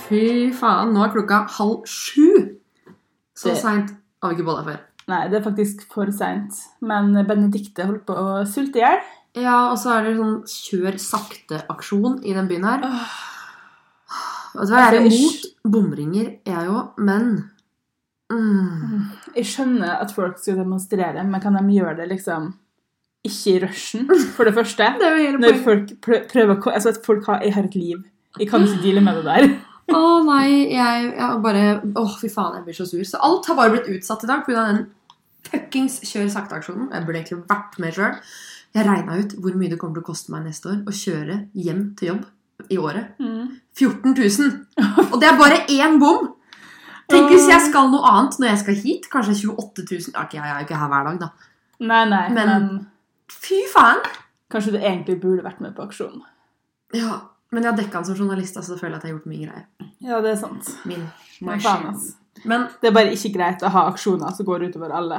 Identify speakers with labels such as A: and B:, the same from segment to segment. A: Fy faen, nå er klokka halv sju! Så
B: Det-
A: seint har vi ikke bolla før.
B: Nei, det er faktisk for seint. Men Benedicte holdt på å sulte i hjel.
A: Ja, og så er det sånn kjør sakte-aksjon i den byen her. Vet du hva, jeg er
B: Altså,
A: imot bomringer, jeg jo, men mm.
B: Jeg skjønner at folk skal demonstrere, men kan de gjøre det liksom ikke i rushen, for det første?
A: Det er jo hele
B: Når
A: poenget.
B: folk prø- prøver å ko- Altså at folk har Jeg har et liv. Jeg kan ikke deale med det der.
A: Å nei, jeg, jeg bare Å, fy faen, jeg blir så sur. Så alt har bare blitt utsatt i dag pga. den fuckings kjør sakte-aksjonen. Jeg burde egentlig vært med sjøl. Jeg regna ut hvor mye det kommer til å koste meg neste år å kjøre hjem til jobb i året. 14 000! Og det er bare én bom! Tenk hvis jeg skal noe annet når jeg skal hit. Kanskje 28 000. Ok, jeg er jo ikke her hver dag, da.
B: Nei, nei,
A: Men-
B: men,
A: Fy faen!
B: kanskje du egentlig burde vært med på aksjonen.
A: Ja, Men jeg har dekka den som journalist, altså føler jeg at jeg har gjort min greie.
B: Ja, det er sant.
A: Min. my
B: Men faen,
A: shit.
B: ass.
A: Men
B: Det er bare ikke greit å ha aksjoner som går utover alle.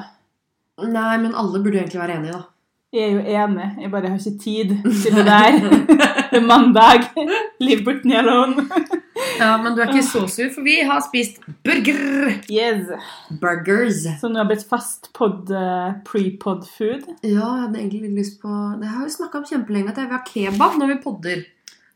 A: nei, men alle burde jo egentlig være enige, da.
B: Jeg er jo enig, jeg bare har ikke tid til det der. Det er mandag. Leave Britney alone.
A: Ja, men du er ikke så sur, for vi har spist burger.
B: Yes.
A: Burgers.
B: Så nå har jeg blitt fast pod, eh, pre-pod food.
A: Ja, jeg hadde egentlig litt lyst på Det har vi snakka om kjempelenge, at jeg vil ha kebab når vi podder.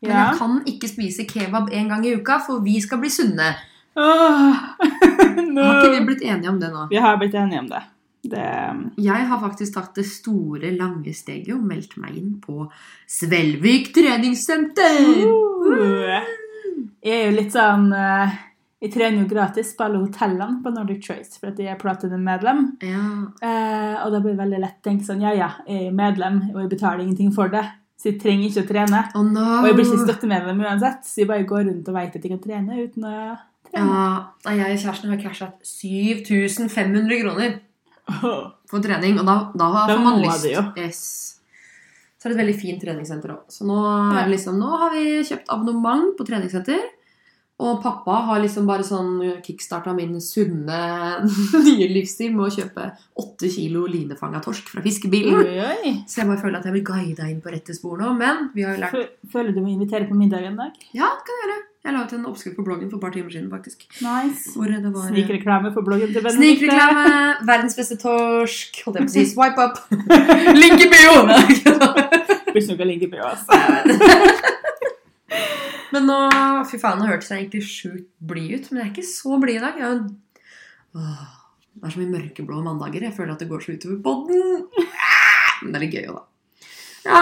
A: Men
B: Ja.
A: jeg kan ikke spise kebab en gang i uka, for vi skal bli sunne.
B: Åh,
A: Har ikke
B: no.
A: vi blitt enige om det nå?
B: Vi har blitt enige om det. det
A: Jeg har faktisk tatt det store, lange steget og meldt meg inn på Svelvik treningssenter.
B: uh. Jeg er jo litt sånn eh, Jeg trener jo gratis på alle hotellene på Nordic Choice for at jeg er platinum-medlem.
A: Ja.
B: Eh, og da blir det veldig lett tenkt sånn Ja, ja, jeg er medlem, og jeg betaler ingenting for det, så jeg trenger ikke å trene.
A: Å, no.
B: Og jeg blir ikke støttemedlem uansett, så jeg bare går rundt og veit at jeg kan trene uten å trene.
A: Ja, nei, jeg og kjæresten har cashet 7500 kroner.
B: Åh.
A: på trening, og da, da
B: Da
A: får man
B: må
A: lyst.
B: det jo.
A: Yes. Så er det et veldig fint treningssenter òg. Så nå, er det liksom, nå har vi kjøpt abonnement på treningssenter. Og pappa har liksom bare sånn kickstarta min sunne nye livsstil med å kjøpe åtte kilo linefanga torsk fra fiskebilen.
B: Oi, oi.
A: Så jeg bare føler at jeg blir guida inn på rette spor nå. Men vi har jo lært
B: Fø- Føler du må invitere på middag en dag?
A: Ja, det kan jeg gjøre. Jeg la ut en oppskrift på bloggen for et par timer siden, faktisk.
B: Nice.
A: Hvor det var eh,
B: Snikreklame for bloggen til Benedicte.
A: Snikreklame! Verdens beste torsk! Holdt jeg på å si. Swipe up! Link i bio!
B: Blir ikke noe ligge på oss.
A: Men nå, fy faen, nå hørtes jeg egentlig sjukt blid ut. Men jeg er ikke så blid i dag. Jeg er jo- Åh, det er så mye mørkeblå mandager. Jeg føler at det går så utover podden. Ah, Men det er litt gøy òg, da. Ja,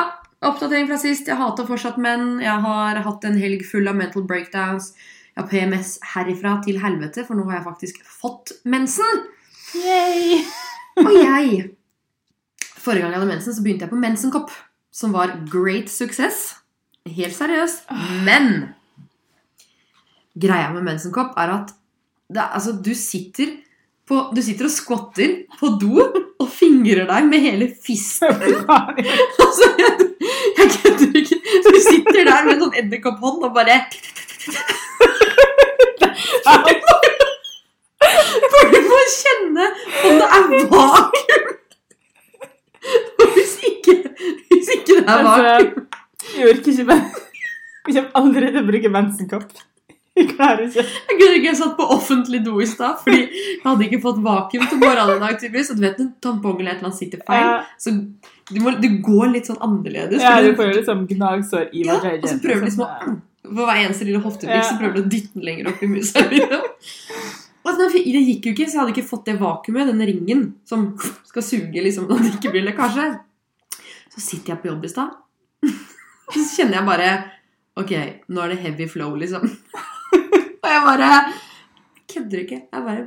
A: oppdatering fra sist. Jeg hater fortsatt menn. Jeg har hatt en helg full av mental breakdowns. Jeg har PMS herifra til helvete, for nå har jeg faktisk fått mensen.
B: Yay!
A: Og jeg Forrige gang jeg hadde mensen, så begynte jeg på mensenkopp, som var great success. Helt seriøst. Men greia med mensenkopp er at det, er- altså, du, sitter på, du sitter og skvatter på do og fingrer deg med hele fisten. Altså, jeg, jeg kødder ikke. Du sitter der med en sånn edderkopphånd og bare For du må kjenne om det er vakuum! Og Hvis ikke, hvis ikke det er vakuum
B: Altså, jeg orker ikke men Jeg kommer aldri til å bruke mensenkopp. Jeg klarer ikke.
A: Jeg kunne ikke jeg satt på offentlig do i stad, fordi jeg hadde ikke fått vakuum til morgenen i dag. tydeligvis, og du vet når tampongen eller et eller annet sitter feil,
B: Eh,
A: så du, må, du går litt sånn annerledes.
B: ja,
A: fordi
B: du får jo liksom gnagsår i
A: Ja,
B: vaginaen.
A: og så prøver du liksom
B: sånn,
A: å På hver eneste lille hoftebrikk
B: Ja.
A: så prøver du å dytte den lenger opp i musa. Liksom. Altså, det det gikk jo ikke, så jeg hadde ikke fått det vakuumet, den ringen, som skal suge liksom, når det ikke blir lekkasje. Så sitter jeg på jobb i stad, så kjenner jeg bare Ok, nå er det heavy flow, liksom. Og jeg bare Kødder ikke. Jeg bare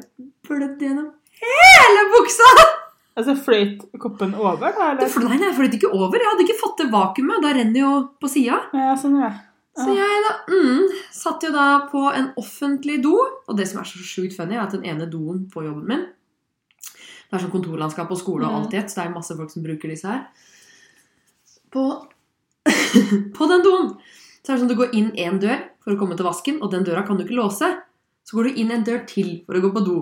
A: blødde gjennom hele buksa!
B: eh, Altså, fløyt koppen over, da?
A: Det
B: Eller?
A: fl- Nei, nei, jeg fløt ikke over. Jeg hadde ikke fått det vakuumet. Da renner jo på sida.
B: Ja, sånn, ja.
A: Så jeg da, mm, satt jo da på en offentlig do, og det som er så sjukt funny, er at den ene doen på jobben min Det er sånn kontorlandskap og skole og alt i ett, så det er masse folk som bruker disse her. På, på den doen så er det sånn at du går inn én dør for å komme til vasken, og den døra kan du ikke låse. Så går du inn en dør til for å gå på do.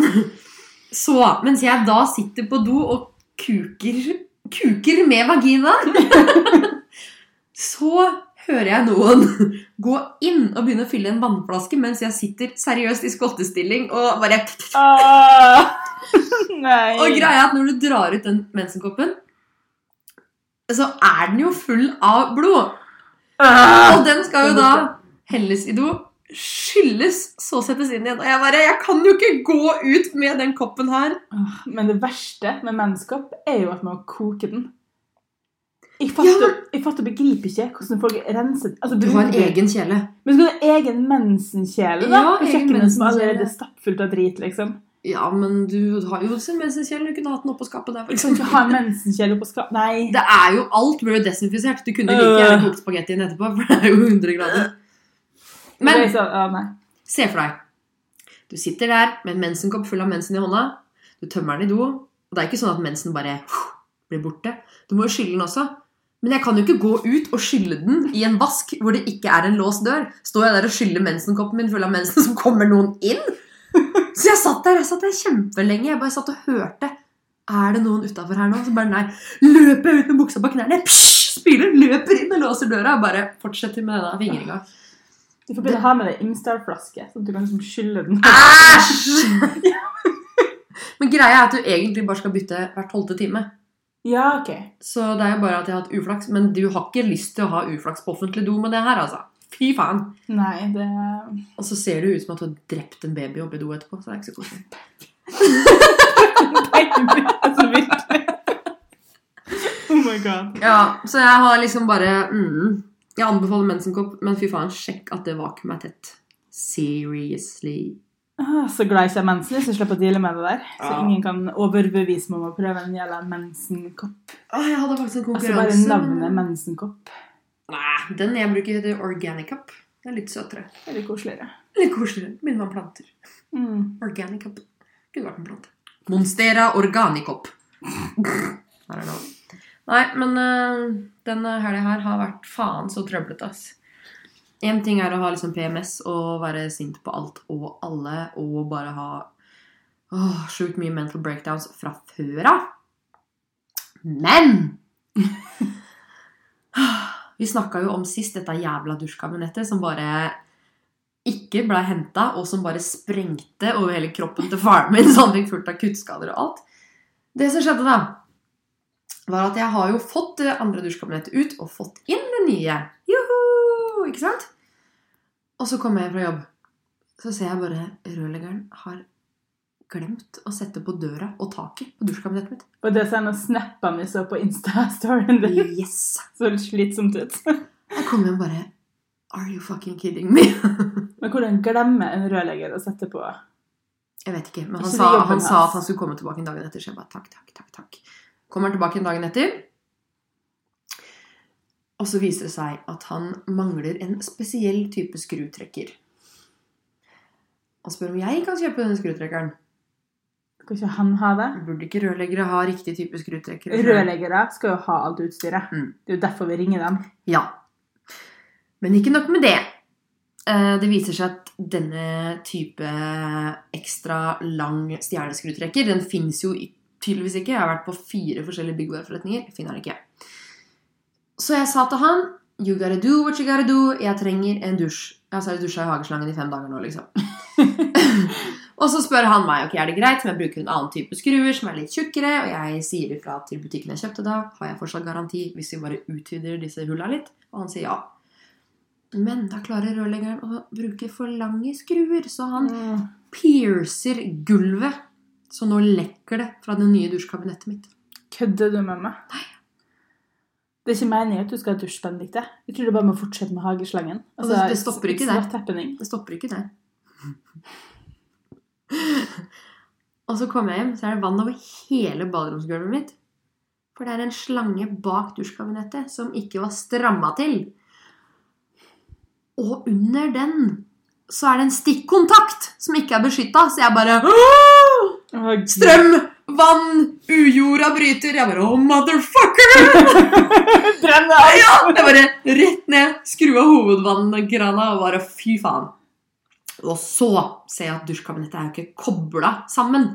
A: Så, mens jeg da sitter på do og kuker, kuker med vagina så hører jeg noen gå inn og begynne å fylle en vannflaske mens jeg sitter seriøst i skottestilling og bare
B: Åh, Ah! nei.
A: Og greia er at når du drar ut den mensenkoppen, så er den jo full av blod.
B: Åh.
A: Og den skal jo da helles i do, skylles, så settes inn igjen. Og jeg bare Jeg kan jo ikke gå ut med den koppen her.
B: Åh, Men det verste med menneskopp er jo at man koker den. Jeg
A: Ja,
B: fatter, jeg fatter og begriper ikke hvordan folk renser altså,
A: Du har en
B: bruker-
A: egen kjele.
B: Men skal du ha egen mensenkjele da,
A: Ja,
B: på
A: egen
B: kjøkkenet som
A: mensenkjele.
B: allerede er stappfullt av drit? liksom.
A: Ja, men du har jo sin mensenkjele. Du kunne hatt den oppå skapet der. for
B: Du kan ikke
A: eksempel.
B: ha en mensenkjele på skap... Nei.
A: Sånn, Det er jo alt blir jo desinfisert. Du kunne like gjerne
B: Øh.
A: kokt spagettien etterpå, for det er jo 100 grader. Men
B: Det er sånn, ja, nei.
A: Se for deg. Du sitter der med en mensenkopp full av mensen i hånda. Du tømmer den i do. Og det er ikke sånn at mensen bare blir borte. Du må jo skylle den også. Men jeg kan jo ikke gå ut og skylle den i en vask hvor det ikke er en låst dør. Står jeg der og skyller mensenkoppen min full av mensen, så kommer noen inn? Så jeg satt der jeg satt der kjempelenge. Jeg bare satt og hørte. Er det noen utafor her nå? Så bare nei. Løper jeg ut med buksa på knærne, psh, spyler, løper inn og låser døra. Bare fortsetter med denne fingringa.
B: Du får begynne å ha med deg Imsdal-flaske, sånn at du kan liksom skylle den.
A: Æsj! Men greia er at du egentlig bare skal bytte hvert tolvte time.
B: Ja, ok.
A: Så det er jo bare at jeg har hatt uflaks. Men du har ikke lyst til å ha uflaks på offentlig do med det her, altså. Fy faen.
B: Nei, det
A: Og så ser det jo ut som at du har drept en baby oppi do etterpå. Så det er ikke så koselig.
B: Nei, altså virkelig. Oh my god.
A: Ja, Så jeg har liksom bare mm, Jeg anbefaler mensenkopp, men fy faen, sjekk at det vakuumet er tett. Seriously.
B: Ah, Så glad jeg ikke har mensen, så jeg slipper å deale med det der. Så
A: Ja.
B: ingen kan overbevise meg om å prøve en jævla mensenkopp.
A: Å, jeg hadde faktisk en
B: Altså
A: konkurranse.
B: bare navnet
A: men-
B: mensenkopp.
A: Nei, Den jeg bruker, heter Organic Cup. Det er litt søtere.
B: Det er litt koseligere.
A: Litt koseligere. Minner meg om planter.
B: Mm.
A: Organic cup. Kunne vært en plante. Monstera organicop. Her er det lov. Nei, men eh, denne helga her har vært faen så trøblete, ass. Én ting er å ha liksom PMS og være sint på alt og alle og bare ha åh, sjukt mye mental breakdowns fra før av. Men Vi snakka jo om sist dette jævla dusjkabinettet som bare ikke ble henta, og som bare sprengte over hele kroppen til faren min, så han fikk fullt av kuttskader og alt. Det som skjedde, da, var at jeg har jo fått det andre dusjkabinettet ut, og fått inn det nye. Joho! Ikke sant? Og så kommer jeg fra jobb. Så ser jeg bare rørleggeren har glemt å sette på døra og taket på dusjkabinettet mitt.
B: Og det ser noen snappene vi så på Insta-storyen din.
A: Mm. Yes!
B: Så litt slitsomt ut.
A: Jeg kom hjem bare Are you fucking kidding me?
B: Men hvordan glemmer en rørlegger å sette på
A: Jeg vet ikke, men han,
B: Ikke
A: sa,
B: jobben
A: han
B: hans.
A: sa at han skulle komme tilbake en dagen etter. Så jeg bare takk, takk, takk. takk. Kommer han tilbake en dagen etter. Og så viser det seg at han mangler en spesiell type skrutrekker. Han spør om jeg kan kjøpe denne skrutrekkeren.
B: Skal ikke han ha det?
A: Burde ikke rørleggere ha riktig type skrutrekker?
B: Rørleggere skal jo ha alt utstyret.
A: Mm.
B: Det er jo derfor vi ringer dem.
A: Ja. Men ikke nok med det. Eh, Det viser seg at denne type ekstra lang stjerneskrutrekker, den fins jo i- tydeligvis ikke. Jeg har vært på fire forskjellige byggvareforretninger. Finner den ikke. Så jeg sa til han You gotta do what you gotta do. Jeg trenger en dusj. Jeg har dusja i hageslangen i fem dager nå, liksom. og så spør han meg ok, er det greit om jeg bruker en annen type skruer som er litt tjukkere. Og jeg sier ifra til butikken jeg kjøpte da. Har jeg fortsatt garanti hvis vi bare utvider disse hulla litt? Og han sier ja. Men da klarer rørleggeren å bruke for lange skruer, så han
B: Mm.
A: piercer gulvet. Så nå lekker det fra det nye dusjkabinettet mitt.
B: Kødder du med meg? Nei. Det er ikke meningen at du skal ha dusjbendik. det. Jeg tror du bare må fortsette med hageslangen.
A: Og det- det stopper ikke
B: it's
A: der.
B: not happening.
A: Det stopper ikke der. og så kommer jeg hjem, så er det vann over hele baderomsgulvet mitt. For det er en slange bak dusjkabinettet som ikke var stramma til. Og under den så er det en stikkontakt som ikke er beskytta, så jeg bare «Åh!
B: Å, Gud.
A: Strøm, vann, ujorda bryter. Jeg bare Oh, motherfucker!
B: Brenn det av!
A: Jeg bare rett ned, skru av hovedvannkrana og bare fy faen. Og så ser jeg at dusjkabinettet er jo ikke kobla sammen.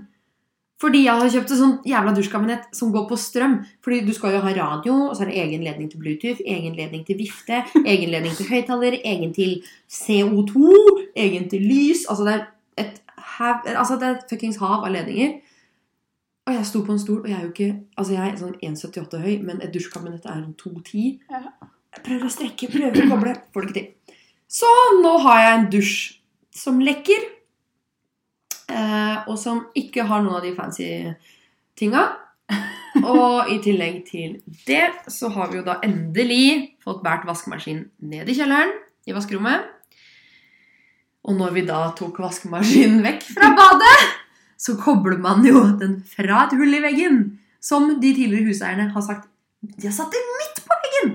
A: Fordi jeg har kjøpt et sånt jævla dusjkabinett som går på strøm. Fordi du skal jo ha radio, og så er det egen ledning til Bluetooth, egen ledning til vifte, egen ledning til høyttaler, egen til CO2, egen til lys. Altså det er et hav, altså det er et fuckings hav av ledninger. Og jeg sto på en stol, og jeg er jo ikke Altså jeg er sånn 1,78 høy, men et dusjkabinett er sånn en 2,10.
B: Ja.
A: Jeg prøver å strekke, prøver å koble. Får det ikke til. Så nå har jeg en dusj som lekker, eh, og som ikke har noen av de fancy tinga. Og i tillegg til det så har vi jo da endelig fått båret vaskemaskinen ned i kjelleren, i vaskerommet. Og når vi da tok vaskemaskinen vekk fra badet, så kobler man jo den fra et hull i veggen. Som de tidligere huseierne har sagt De har satt det midt på veggen!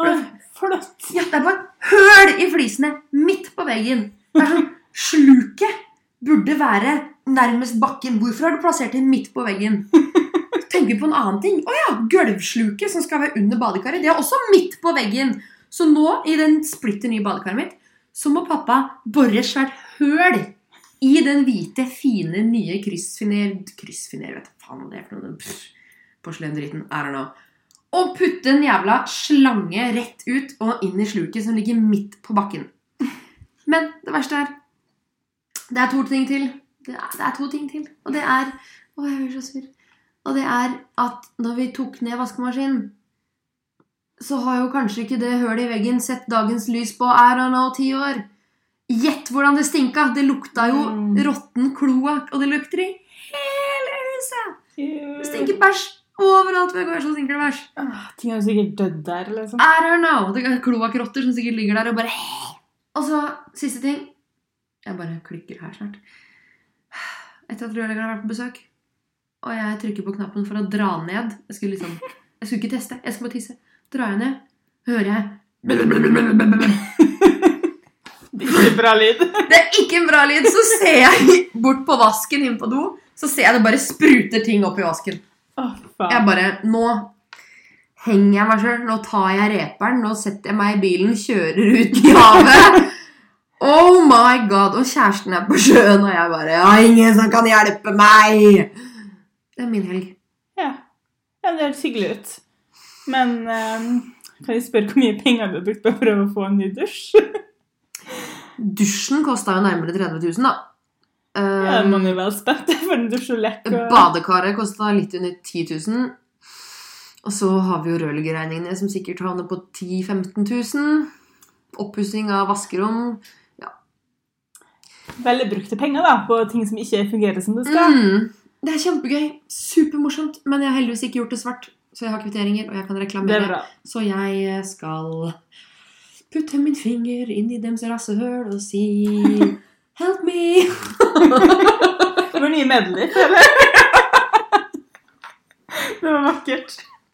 B: Oi, flott!
A: Ja, det er bare høl i flisene midt på veggen. Det er sånn, Sluket burde være nærmest bakken. Hvorfor har du plassert det midt på veggen? Tenker på en annen ting. Å ja, gulvsluket som skal være under badekaret, det er også midt på veggen. Så nå, i den splitter nye badekaret mitt, så må pappa bore et svært høl i den hvite, fine, nye kryssfiner... Kryssfiner, vet du faen hva det er for noe. den- pff, Porselendriten. I don't know. Og putte en jævla slange rett ut og inn i sluket som ligger midt på bakken. Men det verste er Det er to ting til. Det er, det er to ting til. Og det er Å, jeg blir så sur. Og det er at når vi tok ned vaskemaskinen, så har jo kanskje ikke det hølet i veggen sett dagens lys på I don't know, ti år. Gjett hvordan det stinka! Det lukta jo
B: Mm.
A: råtten kloakk, og det lukter i hele huset! Det
B: Stinker.
A: stinker bæsj overalt hvor jeg går, så stinker det bæsj.
B: Ting har jo sikkert dødd der, liksom.
A: I don't know. Det er kloakkrotter som sikkert ligger der og bare Og så siste ting Jeg bare klikker her snart. Etter at rørleggeren har vært på besøk, og jeg trykker på knappen for å dra ned Jeg skulle liksom Jeg skulle ikke teste. Jeg skulle bare tisse. Drar jeg ned, hører jeg
B: Det er ikke bra lyd.
A: Det er ikke en bra lyd. Så ser jeg bort på vasken inn på do, så ser jeg det bare spruter ting opp i vasken.
B: Å,
A: Jeg
B: faen.
A: bare Nå henger jeg meg sjøl. Nå tar jeg reperen. Nå setter jeg meg i bilen, kjører ut i havet. Oh my god! Og kjæresten er på sjøen, og jeg bare Ja, ingen som kan hjelpe meg! Det er min helg.
B: Ja. ja, det høres hyggelig ut. Men eh, kan jeg spørre hvor mye penger du har brukt på å prøve å få en ny dusj?
A: Ehm. Dusjen kosta jo nærmere 30 000, da.
B: Ja,
A: Eh,
B: man er jo vel spent for en dusj og lekk. Og...
A: Badekaret kosta litt under 10 000. Og så har vi jo rørleggerregningene, som sikkert havner på 10 000-15 000. Oppussing av vaskerom.
B: Veldig brukte penger da, på ting som ikke fungerer som det skal.
A: Mm. Det er kjempegøy. Supermorsomt. Men jeg har heldigvis ikke gjort det svart, så jeg har kvitteringer, og jeg kan
B: Det er
A: reklamere.
B: bra.
A: Så jeg eh, skal putte min finger inn i dems rassehøl og si Help me!
B: Det var nye medley, føler jeg. Det var vakkert.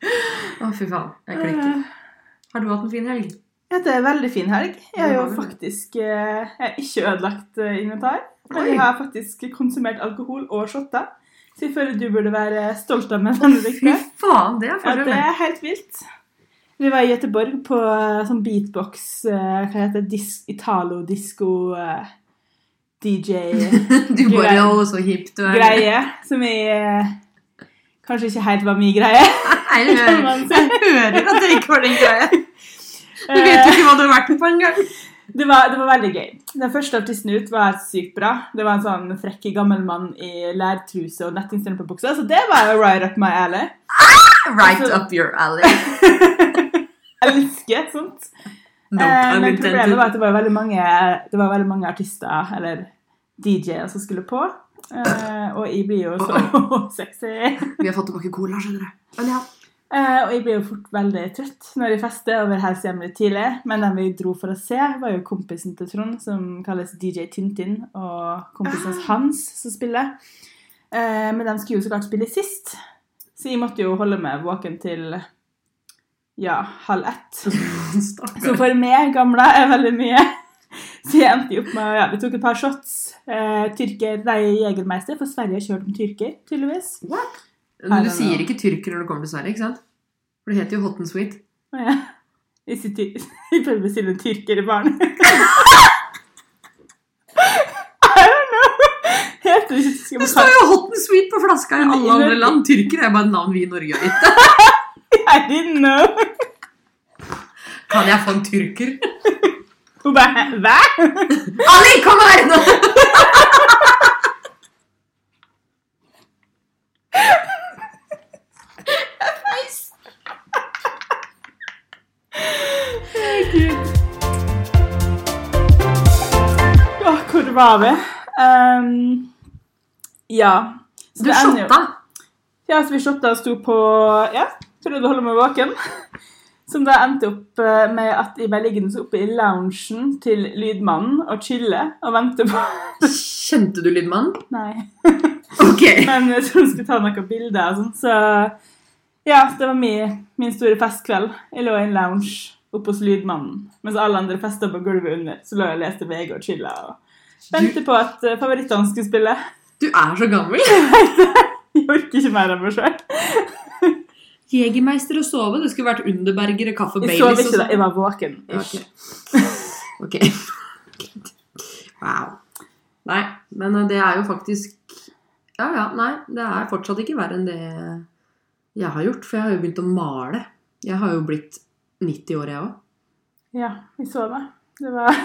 A: Å, fy faen. Jeg klikker. Har du hatt en fin helg?
B: Ja, det er en veldig fin helg. Jeg har
A: Det
B: jo
A: var det.
B: faktisk eh, jeg har ikke ødelagt eh, inventar. Men
A: Oi.
B: jeg har faktisk konsumert alkohol og shotter. Så jeg føler du burde være stolt av meg.
A: Fy
B: Benedikte.
A: faen, det er
B: Ja, det
A: forskjellen.
B: er helt vilt. Vi var i Göteborg på eh, sånn beatbox eh, Hva heter det? Dis eh, Italo-disko-DJ-greie.
A: Du bare er jo så hipp du er.
B: Som jeg eh, kanskje ikke helt var min greie.
A: Nei, Jeg
B: kan
A: hører,
B: man si.
A: jeg hører at det ikke var din greie. Du vet jo ikke hva du har vært på engang.
B: Det var, det var veldig gøy. Den første artisten ut var sykt bra. Det var en sånn frekk gammel mann i lærtruse og nettingstrømpebukse, så det var jo right up my alley.
A: Right up your alley.
B: Jeg elsker sånt.
A: No
B: Eh,
A: pun
B: men problemet
A: intended.
B: var at det var veldig mange, det var veldig mange artister, eller DJ-er, som skulle på. Eh, og jeg blir jo så sexy.
A: Vi har fått tilbake cola, skjønner du. Men ja.
B: Eh, og jeg blir jo fort veldig trøtt når jeg fester og vil helst hjem litt tidlig. Men den vi dro for å se, var jo kompisen til Trond, som kalles DJ Tintin, og kompisen hans Hans, som spiller. Eh, men de skulle jo så klart spille sist, så jeg måtte jo holde meg våken til ja, halv ett. Så
A: Stakkar.
B: for meg, gamle, er veldig mye. Så jeg endte jo opp med ja, Vi tok et par shots. Eh, tyrker, nei, Jegermeister, for Sverige kjørte om tyrker, tydeligvis.
A: Men
B: I
A: du
B: don't
A: sier
B: know.
A: ikke tyrker når du kommer til Sverige, ikke sant? For det heter jo hot and sweet.
B: Å ja. Jeg, sitter, jeg prøver å bestille en tyrker i baren. I don't know. Jeg tror ikke du skal
A: Det står jo hot sweet på flaska i alle andre land. Tyrker er bare et navn vi i Norge har gitt.
B: I didn't know.
A: Kan jeg få en tyrker?
B: Hun bare Hva?
A: Ali, kom her! nå!
B: Åh, hvor var vi? Ehm, ja. Så
A: Du
B: det ender jo-
A: shotta.
B: Ja, så vi shotta og sto på Ja, prøvde å holde meg våken. Som da endte opp eh, med at jeg ble liggende oppe i loungen til lydmannen og chille og vente på
A: Kjente du lydmannen?
B: Nei.
A: Ok.
B: Men jeg trodde hun skulle ta noen bilder og sånn, så Ja, så det var min, min store festkveld. Jeg lå i en lounge oppe hos lydmannen mens alle andre festa på gulvet under. Så lå jeg og leste VG og chilla og vente på at eh, favorittene skulle spille.
A: Du er så gammel.
B: Jeg orker ikke mer av meg sjøl.
A: Jegermeister og sove. Det skulle vært Underberger og kaffe
B: Jeg sov
A: Baileys. og
B: ikke da.
A: sånn.
B: Jeg var våken.
A: Ja,
B: Ish.
A: Ok. Wow. Nei, men eh, det er jo faktisk Ja, ja, nei. Det er fortsatt ikke verre enn det jeg har gjort. For jeg har jo begynt å male. Jeg har jo blitt 90 år, jeg òg.
B: Ja, vi så det. Det var,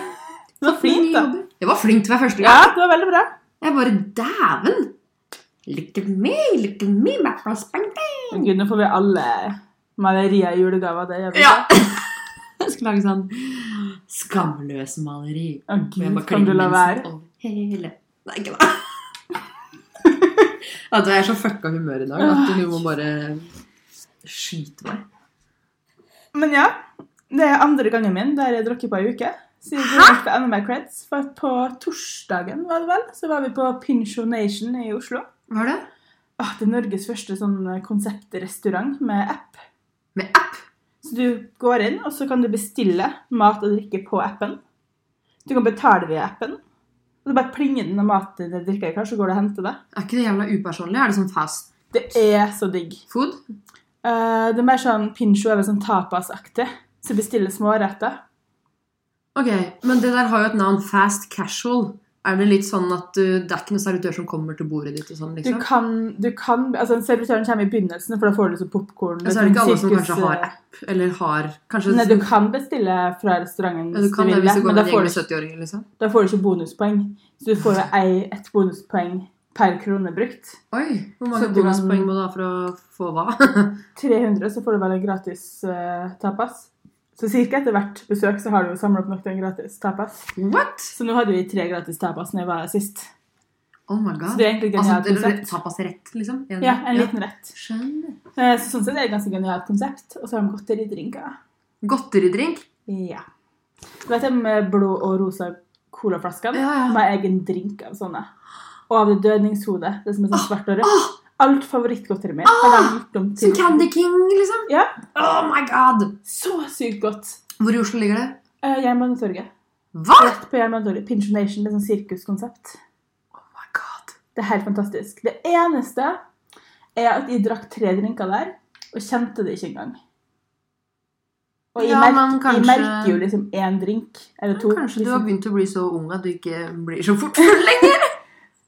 B: det var fint, da.
A: Jeg var flink til hver første gang.
B: Ja, det var veldig bra.
A: Jeg bare Dæven! Look at me, look at me, my first painting.
B: Gud, nå får vi alle malerier i julegave. Det gjør vi.
A: Ja. Jeg skulle lage sånn skamløs maleri.
B: Å,
A: Og jeg
B: Gud,
A: bare
B: kan du la
A: klemmer
B: være?
A: sånn over hele Nei, ikke da. Vet du, hva, jeg er så fucka humør i dag at du må bare skyte meg.
B: Men ja, det er andre gangen min der jeg drukket på ei uke. Så jeg går til enda mer creds. For på torsdagen var det vel, så var vi på Pinsho Nation i Oslo.
A: Hva er det?
B: Åh, det er Norges første sånn konseptrestaurant med app.
A: Med app?
B: Så du går inn, og så kan du bestille mat og drikke på appen. Du kan betale via appen. Og det bare plinger den når maten eller drikken er klar, så går du og henter det.
A: Er ikke det jævla upersonlig? Er det sånn fast
B: Det er så digg.
A: food?
B: Eh, det er mer sånn pincho eller sånn tapasaktig. Så bestiller småretter.
A: Ok, Men det der har jo et navn. Fast casual. Er det litt sånn at du, det er ikke noen servitør som kommer til bordet ditt? og sånn,
B: Du
A: liksom?
B: kan, du kan altså Servitøren kommer i begynnelsen, for da får du liksom popkorn.
A: Og så er det ikke alle som kanskje har app, eller har kanskje
B: Nei, du kan bestille fra restauranten
A: Ja, du kan
B: vil
A: det hvis du
B: men
A: går
B: da
A: med en
B: får
A: gjeng
B: du,
A: med 70-åringer, liksom?
B: da får du ikke bonuspoeng. Så du får jo ei, ett bonuspoeng per krone brukt.
A: Oi! Hvor
B: Så
A: mange
B: du kan-
A: bonuspoeng må du ha for å få hva?
B: 300, så får du vel en gratis eh, tapas. Så cirka etter hvert besøk så har du jo samla opp nok til en gratis tapas.
A: What?
B: Så nå hadde vi tre gratis tapas når jeg var her sist.
A: Oh my god.
B: Så det er egentlig et genialt
A: Altså, det- det-
B: konsept.
A: tapas rett, liksom? En,
B: Ja, en liten rett.
A: Skjønner.
B: Eh, Så sånn sett er det et ganske genialt konsept. Og så har de godteridrinker.
A: Godteridrink?
B: Ja. Du vet de med blå og rosa colaflaskene?
A: Ja, ja.
B: Med egen drink av sånne. Og av det dødningshodet. Det som er
A: Ah,
B: sånn svart og rødt.
A: Åh,
B: Alt favorittgodteriet mitt
A: Ah,
B: har de gjort om
A: som
B: til
A: Candy King, liksom?
B: Ja.
A: Oh my god!
B: Så sykt godt.
A: Hvor i Oslo ligger det?
B: Eh, Jernbanetorget.
A: Hva?!
B: Rett på Jernbanetorget. Pinsj Nation. Det er sånn sirkuskonsept.
A: Oh my god.
B: Det er helt fantastisk. Det eneste er at jeg drakk tre drinker der, og kjente det ikke engang. Og jeg,
A: Ja,
B: merk,
A: men kanskje-
B: jeg merker jo liksom én drink eller to.
A: Kanskje du har
B: liksom.
A: begynt å bli så ung at du ikke blir så fort full lenger?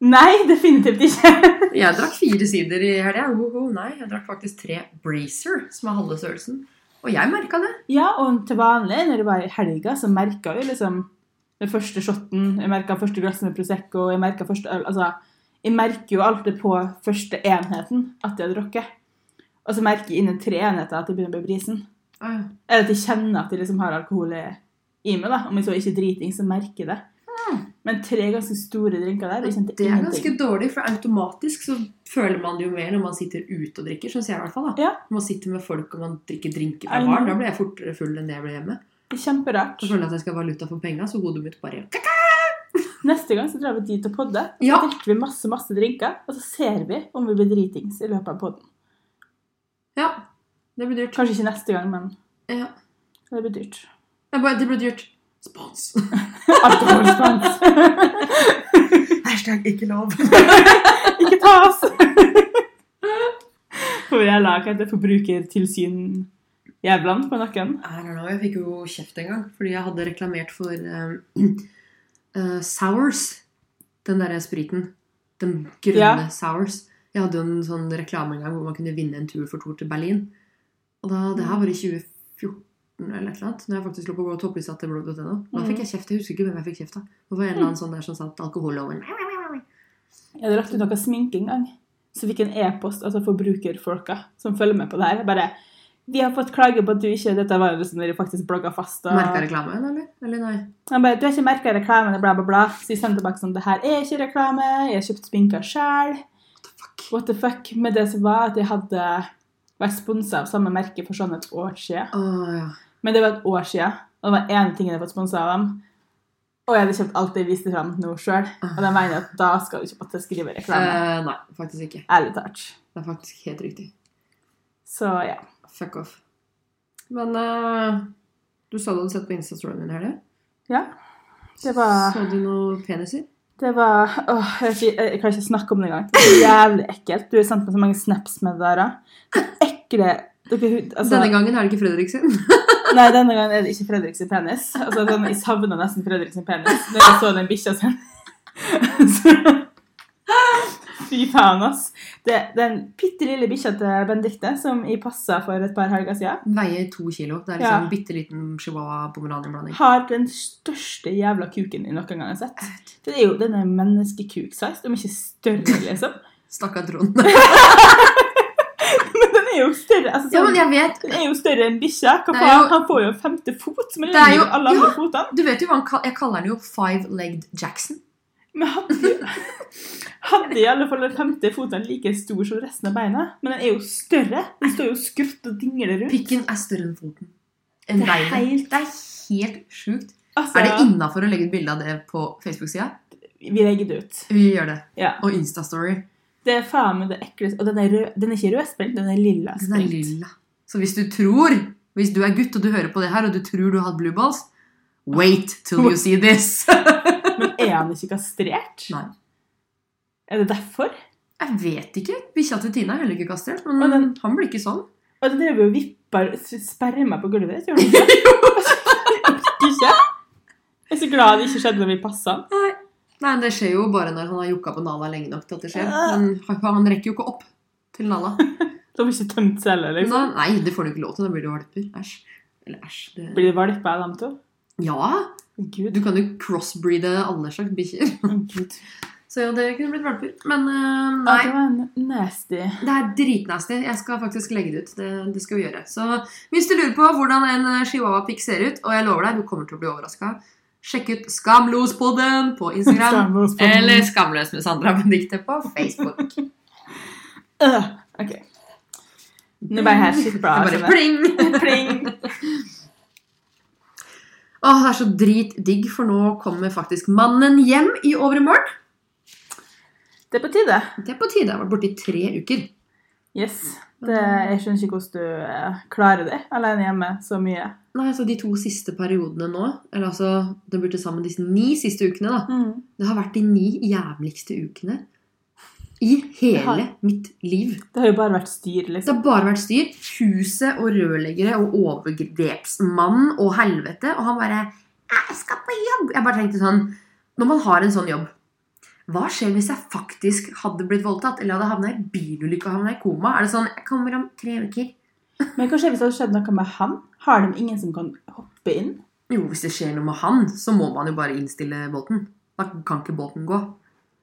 B: Nei, definitivt ikke.
A: Jeg drakk fire sider i helga. Ho, ho, Nei, jeg drakk faktisk tre Breezer, som er halve størrelsen. Og jeg merka det.
B: ja, og til vanlig, når det var i helga, så merka jeg jo liksom den første shotten, jeg merka første glasset med Prosecco, jeg merka første øl Altså, jeg merker jo alltid på første enheten at jeg har drukket. Og så merker jeg innen tre enheter at jeg begynner å bli brisen.
A: Åh,
B: Eller at jeg kjenner at jeg liksom har alkohol i i meg, da. Om jeg så ikke er driting, så merker jeg det. Men tre ganske store drinker der, og jeg kjente
A: Hmm. Det er liksom
B: ingenting.
A: ganske dårlig, for automatisk så føler man det jo mer når man sitter ute og drikker. Syns jeg, i hvert fall. da.
B: Ja.
A: Når man sitter med folk og man drikker drinker fra
B: I
A: baren. Da
B: know.
A: blir jeg fortere full enn det jeg ble hjemme.
B: Det er Kjemperart.
A: Så føler jeg at jeg skal ha valuta for penga, så hodet mitt bare
B: Neste gang så drar vi dit og podder.
A: Ja.
B: Så drikker vi masse, masse drinker, og så ser vi om vi blir dritings i løpet av podden.
A: Ja, det blir dyrt.
B: Kanskje ikke neste gang, men
A: Ja.
B: det blir dyrt.
A: Det, bare, det blir dyrt. Spons.
B: Alkoholspons.
A: Hashtag ikke lov.
B: ikke ta oss! Hvor jeg la hva heter forbrukertilsyn jævlan på nakken.
A: I don't know, Jeg fikk jo kjeft en gang fordi jeg hadde reklamert for eh, eh, Sours. Den derre spriten. Den grønne
B: Ja.
A: Sours. Jeg hadde jo en sånn reklame en gang hvor man kunne vinne en tur for to til Berlin. Og da, Det her var i 2014 eller et eller annet. Når jeg faktisk lå på å gå topplista til blogg.no. Da fikk jeg kjeft. Jeg husker ikke hvem jeg fikk kjeft av. Det var en eller annen sånn der som sa at alkoholloven
B: Jeg hadde lagt ut noe sminke en gang. Så fikk jeg en e-post altså forbrukerfolka som følger med på det her. Bare Vi har fått klage på at du ikke Dette var jo som dere faktisk blogga fast. Og
A: merka reklamen, eller? Eller nei?
B: han bare Du har ikke merka reklamen, bla, bla, bla. Så jeg sendte tilbake sånn Det her er ikke reklame. Jeg har kjøpt sminka sjæl. What the fuck? Med det som var at jeg hadde vært sponsa av samme merke for sånn et år siden.
A: Å ja.
B: Men det var et år siden, og det var én ting jeg hadde fått sponsa av dem. Og jeg hadde kjøpt alt jeg viste fram nå sjøl. Og de mener at da skal du ikke måtte skrive reklame.
A: Eh, nei, faktisk ikke.
B: Ærlig talt.
A: Det er faktisk helt riktig.
B: Så ja.
A: Fuck off. Men eh, du sa du hadde sett på Insta-storyen min her, det.
B: ja. Det var-
A: Så du noen peniser?
B: Det var åh, jeg, vet ikke, jeg klarer ikke å snakke om det engang. Det er jævlig ekkelt. Du har sendt meg så mange snaps med det der. da. Det er ekle dere, hu- altså,
A: Denne gangen er det ikke Fredrik sin.
B: Nei, denne gangen er det ikke Fredrik sin penis. Altså, sånn, jeg savna nesten Fredrik sin penis når jeg så den bikkja sin. Så- Fy faen, ass. Det, den bitte lille bikkja til Benedicte som jeg passa for et par helger siden,
A: Den veier to kilo. Det er
B: Ja.
A: liksom en bitte liten chihuahua-pomeranian-blanding.
B: har den største jævla kuken jeg noen gang har sett. Den er jo den er menneskekuk-size, om ikke større, liksom.
A: Stakkar Trond.
B: Men den er jo større altså,
A: Ja,
B: sånn,
A: men jeg vet
B: Den er jo større enn bikkja. Hva
A: Det er
B: faen?
A: jo-
B: Han får jo en femte fot, som er
A: Det er
B: lengre
A: jo-
B: enn alle andre fotene.
A: Du vet jo hva han kal- Jeg kaller den jo Five-Legged Jackson.
B: Men hadde, hadde i alle fall den femte foten like stor som resten av beina. Men den er jo større. Den står jo skrutt og dingler rundt.
A: Pikken er større enn foten.
B: Det
A: Enn
B: er
A: beinet.
B: helt-
A: Det er helt sjukt.
B: Altså,
A: Er det innafor å legge ut bilde av det på Facebook-sida?
B: vi legger det ut.
A: Vi gjør det.
B: Ja.
A: Og Insta-story.
B: Det er faen meg det ekleste. Og den er, rød, den er ikke rødsprengt, den er lilla
A: Den er
B: sprengt.
A: lilla. Så hvis du tror Hvis du er gutt og du hører på det her, og du tror du har hatt blue balls Wait till you see this!
B: Men er han ikke kastrert?
A: Nei.
B: Er det derfor?
A: Jeg vet ikke. Bikkja til Tina er heller ikke kastrert. Men
B: Og den-
A: han blir ikke sånn.
B: Og den drev jo og vippa sperma på gulvet ditt, gjorde den ikke? Jeg orker ikke. Jeg er så glad det ikke skjedde når vi passa den.
A: Nei, men Det skjer jo bare når han har jokka på Nala lenge nok til at det skjer.
B: Ja.
A: Men han han rekker jo ikke opp til Nala.
B: De har ikke tømt seg heller. Liksom.
A: Nå, nei, det får du ikke lov til. Da blir du valper. Æsj. Eller æsj. Det...
B: Blir det valper av dem to?
A: Ja!
B: Å, Gud.
A: Du kan jo crossbreede alle slags bikkjer.
B: Å, Gud.
A: Så ja, det kunne blitt valper. Men eh,
B: Ja,
A: nei.
B: det var en nasty.
A: Det er dritnasty. Jeg skal faktisk legge det ut. Det, det skal vi gjøre. Så hvis du lurer på hvordan en eh, chihuahua-pikk ser ut, og jeg lover deg, du kommer til å bli overraska, sjekk ut Skamlospodden på Instagram.
B: Skamløs på-
A: Eller Skamløs med Sandra Benedicte på Facebook.
B: Øh, Ok. Nå ble jeg her skitt bra. altså.
A: Det er
B: skjønner
A: bare pling!
B: jeg. Pling.
A: Åh, det er så dritdigg, for nå kommer faktisk mannen hjem i overmorgen.
B: Det er på tide.
A: Det er på tide. Jeg har vært borte i tre uker.
B: Yes. Det, jeg skjønner ikke hvordan du eh, klarer det alene hjemme så mye.
A: Nei, altså De to siste periodene nå, eller altså det blir til sammen disse ni siste ukene, da. Det har vært de ni jævligste ukene i
B: Det har-
A: hele mitt liv.
B: Det har jo bare vært styr,
A: Det
B: liksom.
A: har bare vært styr. Huset og rørleggere og overgrepsmann og helvete. Og han bare 'Jeg skal på jobb!' Jeg bare tenkte sånn Når man har en sånn jobb, hva skjer hvis jeg faktisk hadde blitt voldtatt? Eller hadde havna i bilulykke og havna i koma? Er det sånn 'Jeg kommer om tre uker'?
B: Men hva skjer hvis det hadde skjedd noe med han? Har de ingen som kan hoppe inn?
A: Jo, hvis det skjer noe med han, så må man jo bare innstille båten. Da kan ikke båten gå.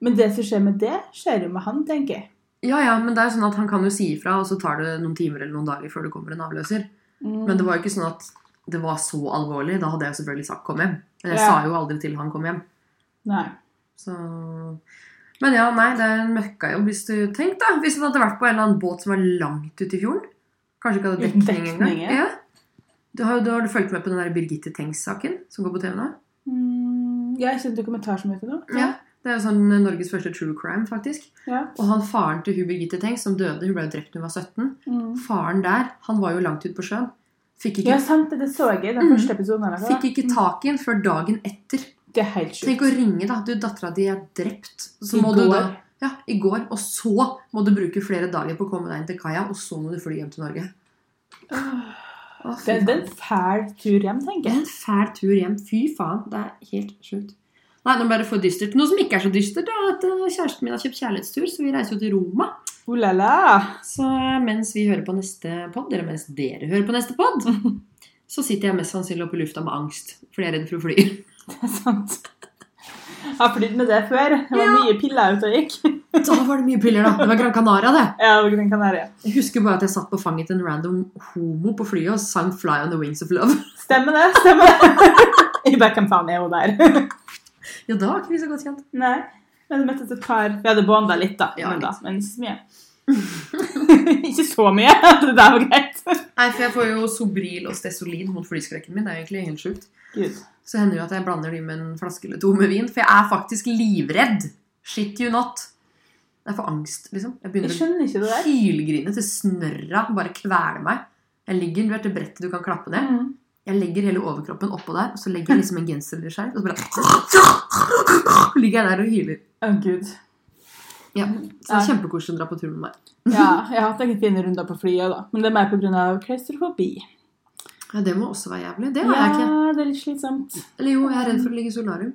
B: Men det som skjer med det, skjer jo med han, tenker jeg.
A: Ja, ja, men det er jo sånn at han kan jo si ifra, og så tar det noen timer eller noen dager før det kommer en avløser. Men det var jo ikke sånn at det var så alvorlig. Da hadde jeg jo selvfølgelig sagt 'kom hjem'. Men jeg
B: Ja.
A: sa jo aldri til han 'kom hjem'.
B: Nei.
A: Så... Men ja, nei, det er en møkkajobb hvis du Tenk da, hvis du hadde vært på en eller annen båt som var langt ute i fjorden. Kanskje ikke hadde
B: Uten
A: dekning engang.
B: dekning, ja.
A: Ja. Du har, du har du fulgt med på den der Birgitte Tengs-saken som går på TV nå?
B: Mm, ja, jeg kjente dokumentar som heter noe.
A: Ja. Det er jo sånn eh, Norges første true crime, faktisk.
B: Ja.
A: Og han faren til hun Birgitte Tengs som døde, hun ble jo drept da hun var 17,
B: Mm.
A: faren der, han var jo langt ute på sjøen. Fikk
B: ja,
A: ikke,
B: sant det. Det så jeg i den
A: Mhm.
B: første episoden. eller hva?
A: fikk ikke tak i den før dagen etter.
B: Det er helt sjukt.
A: Tenk å ringe, da. Du, dattera di er drept. Så
B: I
A: må du
B: går.
A: da Ja, i går. Og så må du bruke flere dager på å komme deg inn til kaia, og så må du fly hjem til Norge.
B: Åh.
A: Å,
B: Det,
A: fy
B: det
A: faen.
B: er en fæl tur hjem,
A: Det
B: tenker
A: er
B: jeg.
A: en fæl tur hjem. Fy faen. Det er helt sjukt. Nei, nå ble det for dystert. Noe som ikke er så dystert, er at eh, kjæresten min har kjøpt kjærlighetstur, så vi reiser jo til Roma.
B: Oh la la!
A: Så mens vi hører på neste podd, eller mens dere hører på neste podd, så sitter jeg mest sannsynlig oppe i lufta med angst, fordi jeg er redd for å fly.
B: Det er sant. Jeg har flydd med det før. Det var
A: Ja.
B: mye piller ute og gikk.
A: Da Sånn, var det mye piller, da. Det var Gran Canaria, det.
B: Ja, og Gran Canaria.
A: Jeg husker bare at jeg satt på fanget til en random homo på flyet og sang 'Fly on the Wings of Love'.
B: Stemmer det, stemmer det. I Beckham-faen er hun der.
A: Ja, da var ikke vi så godt kjent.
B: Nei. Vi hadde møttes et par Vi hadde bonda litt, da.
A: Ja,
B: men, da.
A: litt.
B: men ikke så mye. ikke så mye. Det der var greit.
A: Nei, for jeg får jo Sobril og Stesolin mot flyskrekken min. Det er jo egentlig helt sjukt.
B: Gud.
A: Så hender det jo at jeg blander de med en flaske eller to med vin, for jeg er faktisk livredd. Shit you not. Det er for angst, liksom. Jeg
B: Jeg
A: begynner å
B: skjønner ikke det der.
A: hylgrine til snørra bare kveler meg. Jeg ligger du vet, det brettet du kan klappe ned.
B: Mm.
A: Jeg legger hele overkroppen oppå der, og så legger jeg liksom en genser eller skjerf, og så bare ligger jeg der og hyler.
B: Å, Gud.
A: Ja, så det er kjempekoselig å dra på tur med meg.
B: Ja, jeg har hatt noen fine runder på flyet, da. Men det er mer pga. klaustrofobi.
A: Ja, Det må også være jævlig. Det
B: Ja,
A: har jeg ikke.
B: det er litt slitsomt.
A: Eller jo, jeg er redd for å ligge i solarium.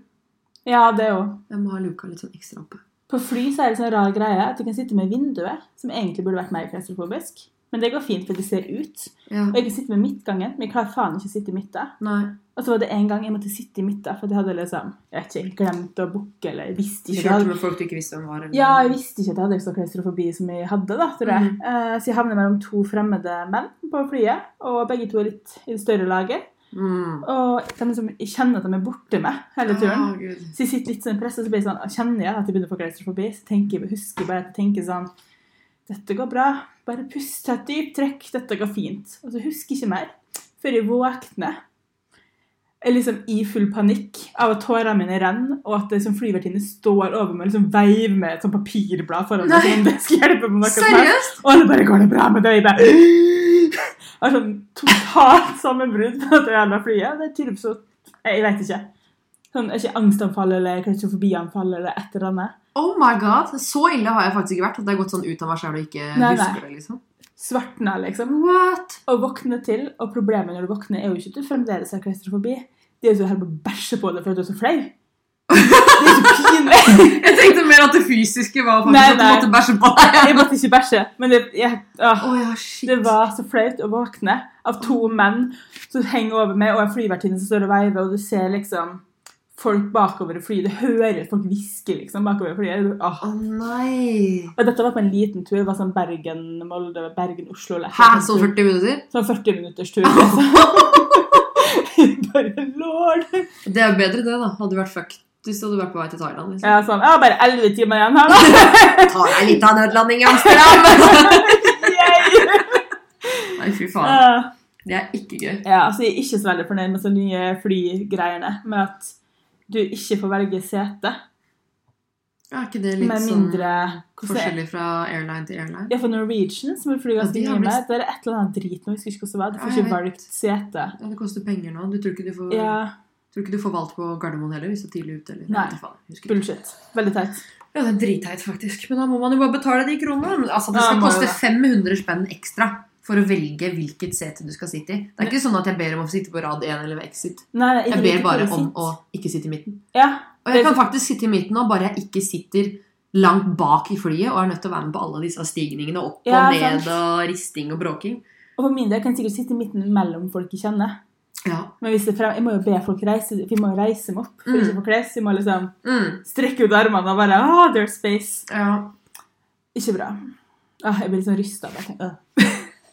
B: Ja, det òg.
A: Jeg må ha luka litt sånn ekstra oppe.
B: På fly så er det sånn rar greie at du kan sitte med vinduet, som egentlig burde vært mer klaustrofobisk. Men det går fint, for det ser ut.
A: Ja,
B: Og jeg kan sitte med midtgangen, men jeg klarer faen ikke å sitte i midten.
A: nei.
B: Og så var det en gang jeg måtte sitte i midten, for jeg hadde liksom, jeg vet ikke, glemt å booke, eller jeg visste
A: Du
B: ikke.
A: kjørte
B: det.
A: med folk du ikke visste hvem var? eller-
B: Ja, jeg visste ikke at jeg hadde så klaustrofobi som jeg hadde, da, tror jeg. Eh, så jeg havnet mellom to fremmede menn på flyet, og begge to er litt i det større laget.
A: Mm.
B: Og de liksom, jeg kjenner at de er borte med hele turen.
A: Å, Gud.
B: Så jeg sitter litt sånn presset, så blir jeg sånn, kjenner jeg at jeg begynner å få klaustrofobi, så tenker jeg, husker jeg bare at jeg tenker sånn, dette går bra, bare pust, ta et dypt trekk, dette går fint. Og så husker jeg ikke mer, før jeg våkner, jeg er liksom i full panikk av at tårene mine renner, og at det som flyvertinne står over meg og liksom veiver med et sånt papirblad foran meg,
A: Nei.
B: som om det skal hjelpe på noe som helst.
A: Seriøst?
B: Og alle bare 'Går det bra med deg?' Jeg bare Jeg har sånn totalt sammenbrudd på dette jævla flyet. Det er tydeligvis så Jeg vet ikke. Sånn, ikke angstanfall eller klaustrofobianfall eller et eller annet.
A: Oh my god, Så ille har jeg faktisk ikke vært at det har gått sånn ut av meg selv og ikke
B: Nei, nei.
A: husker det. liksom.
B: Svartna, liksom.
A: What?
B: Og våkne til. Og problemet når du våkner, er jo ikke at du fremdeles har klaustrofobi. Det er jo så helt på å bæsje på deg for at du er så flau. Det er så pinlig.
A: Jeg tenkte mer at det fysiske var faktisk
B: Nei,
A: at du
B: nei.
A: måtte bæsje på deg.
B: Jeg måtte ikke bæsje, men det, jeg, åh.
A: Å ja, shit.
B: Det var så flaut å våkne av to menn som henger over meg, og en flyvertinne som står og veiver, og du ser liksom folk bakover i flyet. Du hører folk hviske liksom bakover i flyet. Du- Åh.
A: Å nei.
B: Og dette var på en liten tur. Det var sånn Bergen-Molde, Bergen-Oslo. eller et
A: Hæ,
B: eller annet
A: sånn
B: tur.
A: 40 minutter?
B: Sånn 40 minutters tur. Liksom. bare lord.
A: Det er bedre det, da. Hadde du vært fucked hvis du hadde vært på vei til Thailand. liksom.
B: Ja, sånn, jeg har bare 11 timer igjen her, da.
A: Ta deg litt av nødlanding i Amsterdam!
B: Yay!
A: nei, fy faen.
B: Ah.
A: Det er ikke gøy.
B: Ja, altså jeg er ikke så veldig fornøyd med de nye flygreiene. Med at du ikke får velge sete.
A: Er ikke det litt
B: Med
A: sånn
B: mindre hvordan er-
A: forskjellig fra airline til airline?
B: Ja, for Norwegian, som jeg flyr
A: Ja,
B: ganske
A: de har
B: mye med, der er et eller annet drit nå. Jeg husker ikke hvordan det var.
A: Ja,
B: Du får
A: jeg
B: ikke
A: vet.
B: valgt sete.
A: Ja, Det koster penger nå. Du tror ikke du får,
B: Ja,
A: tror ikke du får valgt på Gardermoen heller hvis du er tidlig ute? eller?
B: Nei.
A: vet du faen, jeg husker ikke.
B: bullshit. Veldig teit.
A: Ja, det er dritteit, faktisk. Men da må man jo bare betale de kronene. Men Altså, det
B: Ja,
A: skal
B: må jo
A: koste
B: det.
A: 500 spenn ekstra for å velge hvilket sete du skal sitte i. Det er ikke sånn at jeg ber om å få sitte på rad 1 eller ved exit.
B: Nei, nei,
A: Jeg
B: liker
A: ber
B: hvor
A: bare
B: det
A: om
B: sitter.
A: å ikke sitte i midten.
B: Ja,
A: Og jeg kan faktisk sitte i midten nå, bare jeg ikke sitter langt bak i flyet og er nødt til å være med på alle disse stigningene opp og
B: Ja, sant.
A: ned og risting og bråking.
B: og for min del kan jeg sikkert sitte i midten mellom folk jeg kjenner.
A: Ja.
B: Men hvis det er frem, jeg må jo be folk reise, vi må jo reise dem opp. For
A: Mm.
B: ikke å få kles, vi må liksom
A: Mm.
B: strekke ut armene og bare, ah, there's space.
A: ja.
B: Ikke bra. Ah, jeg blir litt sånn rystet av det. Jeg tenker, «Åh».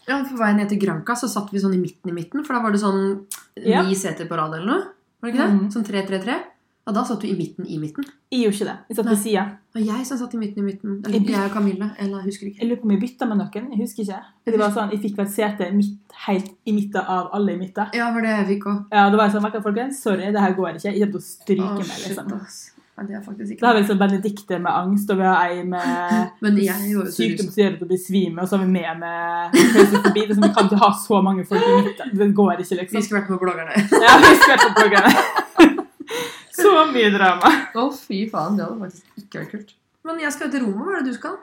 A: Ja, På vei ned til Granca så satt vi sånn i midten i midten, for da var det sånn
B: Ja.
A: ni seter på rad eller noe. Var det ikke det?
B: Mhm.
A: Sånn 3-3-3. Ja, da satt du i midten i midten.
B: Jeg gjorde ikke det. Jeg satt ved
A: Nei.
B: siden.
A: Det var jeg som satt i midten i midten.
B: I
A: Eller
B: midten.
A: jeg og Camilla. Eller jeg husker ikke.
B: Jeg lurer på om jeg bytta med noen. Jeg husker ikke. For det var sånn, Jeg fikk vel sete midt, helt i midten av alle i midten.
A: Ja, var det jeg fikk òg.
B: Ja, og det var jeg sånn, «Vet dere, folkens, Sorry, det her går ikke. Jeg kommer til å stryke meg. liksom.
A: Ja, det er faktisk
B: Da
A: ikke
B: har vi liksom Benedicte med angst, og vi har ei med
A: Men jeg gjorde jo så
B: sykdom
A: rusen.
B: som gjør at du besvimer, og så har vi med med klaustrofobi. Liksom, vi kan ikke ha så mange folk i midten. Det går ikke,
A: Vi
B: liksom.
A: skulle vært med bloggerne.
B: Ja, vi skal på programmet. Så mye drama.
A: Å, fy faen. Det hadde faktisk ikke vært kult. Men jeg skal jo til Roma. Hva er det du skal?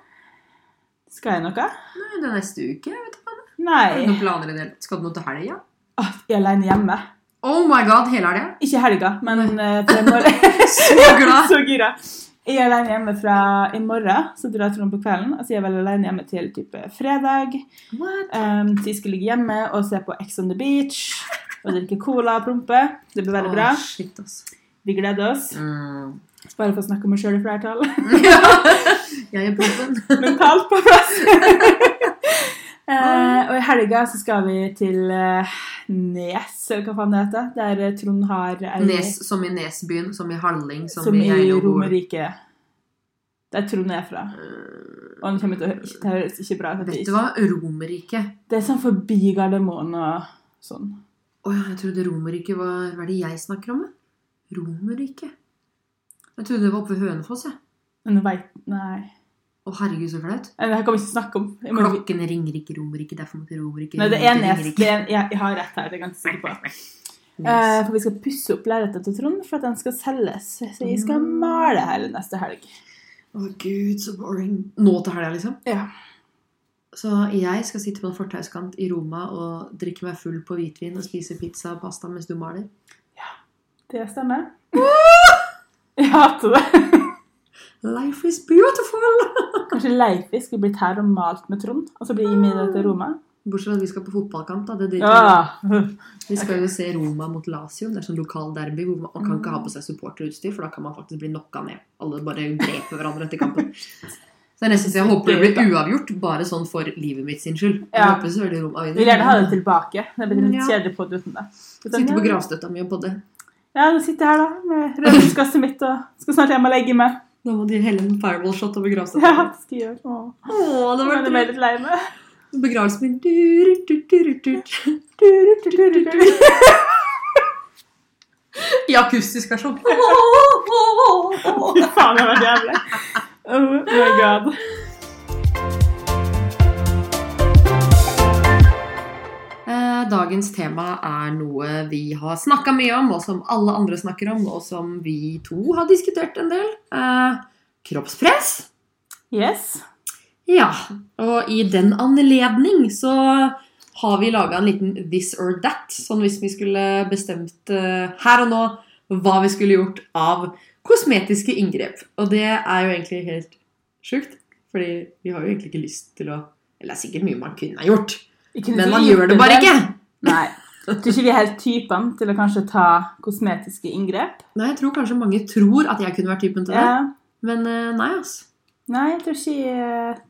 B: Skal jeg noe?
A: Nei, det er neste uke. Jeg vet ikke. Har du
B: Nei.
A: noen planer i det hele tatt? Skal du noe til helga?
B: Ah, jeg er alene hjemme.
A: Oh my god, hele helga?
B: Ikke i helga, men eh, for jeg må
A: Så glad!
B: så gira. Jeg er alene hjemme fra i morgen, så drar Trond på kvelden. Altså, jeg er vel alene hjemme til type fredag.
A: What?
B: Um, så jeg skal ligge hjemme og se på Ex on the Beach og drikke cola og prompe. Det blir veldig bra.
A: Åh, shit, ass.
B: Vi gleder oss.
A: Mm.
B: Bare for å snakke om meg sjøl i flertall.
A: Jeg er bomben.
B: mentalt på plass. Eh, og i helga så skal vi til eh, Nes, eller hva faen det heter. Der eh, Trond har ei
A: Nes som i Nesbyen, som i Halling, som,
B: som, i
A: Geilo bor.
B: Romerike. Der Trond er fra.
A: Eh,
B: Og han kommer til å ikke- Det høres ikke bra ut. at det
A: Vet du
B: ikke-
A: hva? Romerike.
B: Det er sånn forbi Gardermoen og sånn.
A: Å ja, jeg trodde Romerike var Hva er det jeg snakker om? da? Romerike. Jeg trodde det var oppe ved Hønefoss, jeg.
B: Men jeg veit Nei.
A: Å herregud, så flaut.
B: Nei, Det her kan vi ikke snakke om. Jeg må,
A: Klokken ringer ikke Romerike, derfor måtte Romerike
B: nei, det
A: ringe
B: er
A: til
B: Nes.
A: Romerike.
B: Det er, jeg, jeg har rett her. Det er jeg ganske sikker på. Eh,
A: Nes.
B: for vi skal pusse opp leiligheten til Trond for at den skal selges. Så jeg skal male hele neste helg.
A: Å gud, så boring. Nå til helga, liksom?
B: Ja.
A: Så jeg skal sitte på en fortauskant i Roma og drikke meg full på hvitvin og spise pizza og pasta mens du maler?
B: Det stemmer. Jeg hater det.
A: Life is beautiful!
B: Kanskje Leifi skulle blitt her og malt med Trond, og så blir Imi det til Roma?
A: Bortsett fra at vi skal på fotballkamp, da. Det driter vi i.
B: Ja.
A: Vi skal jo se Roma mot Lazio. Det er sånn lokal derby hvor man kan ikke ha på seg supporterutstyr, for da kan man faktisk bli knocka ned. Alle bare dreper hverandre etter kampen. Så det er nesten så jeg håper det blir uavgjort, bare sånn for livet mitt sin skyld. Jeg
B: Ja.
A: håper selvfølgelig Roma vinner.
B: Vi vil gjerne ha det tilbake. Det blir litt
A: Ja.
B: kjedelig podd uten det. Så
A: Sitte på
B: ja.
A: gravstøtta mi og podde.
B: Ja, nå sitter jeg her, da, med rødvinskasset mitt, og skal snart hjem og legge meg.
A: Da må de helle en fireball shot over gravstøtta.
B: Ja, det skal jeg gjøre. Åh,
A: Åh, det
B: nå
A: var
B: er det
A: det
B: mer litt lei meg.
A: Begravelsen min du, du, du, du, du, du.
B: Du, du, du, du, du, du.
A: I akustisk versjon. Åh, åh, åh, åh, åh.
B: Fy faen, det var jævlig. Oh my god.
A: Eh, Dagens tema er noe vi har snakka mye om, og som alle andre snakker om, og som vi to har diskutert en del. Eh, kroppspress.
B: Yes.
A: Ja, og i den anledning så har vi laga en liten this or that, sånn hvis vi skulle bestemt eh, her og nå hva vi skulle gjort av kosmetiske inngrep. Og det er jo egentlig helt sjukt, fordi vi har jo egentlig ikke lyst til å Eller det er sikkert mye man kunne ha gjort,
B: Ikke
A: men man
B: vite
A: gjør det bare ikke.
B: Nei. Jeg tror ikke vi er helt typene til å kanskje ta kosmetiske inngrep.
A: Nei, jeg tror kanskje mange tror at jeg kunne vært typen til det.
B: Ja.
A: Men eh, nei, altså.
B: Nei, jeg tror ikke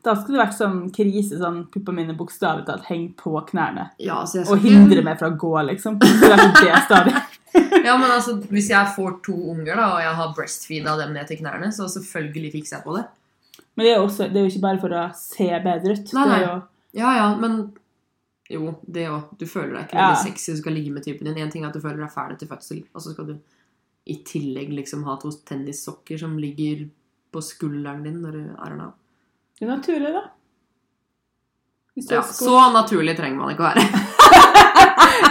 B: Da skulle det vært sånn krise, sånn puppa mine bokstavelig talt henger på knærne.
A: Ja, altså jeg skal
B: Og
A: ikke-
B: hindrer meg fra å gå, liksom. Det skulle vært det stadiet.
A: Ja, men altså, Hvis jeg får to unger da, og jeg har breastfeeda dem ned til knærne, så selvfølgelig fikser jeg på det.
B: Men det er, jo også, det er jo ikke bare for å se bedre ut.
A: Nei,
B: Det
A: nei.
B: er jo,
A: Ja, ja, men Jo, det òg. Du føler deg ikke
B: Ja.
A: veldig sexy, du skal ligge med typen din. Én ting er at du føler deg fæl etter fødsel, og så skal du i tillegg liksom ha to tennissokker som ligger på skulderen din når du er her nå.
B: det er naturlig, da. Hvis du
A: Ja,
B: har sko-
A: så naturlig trenger man ikke å være.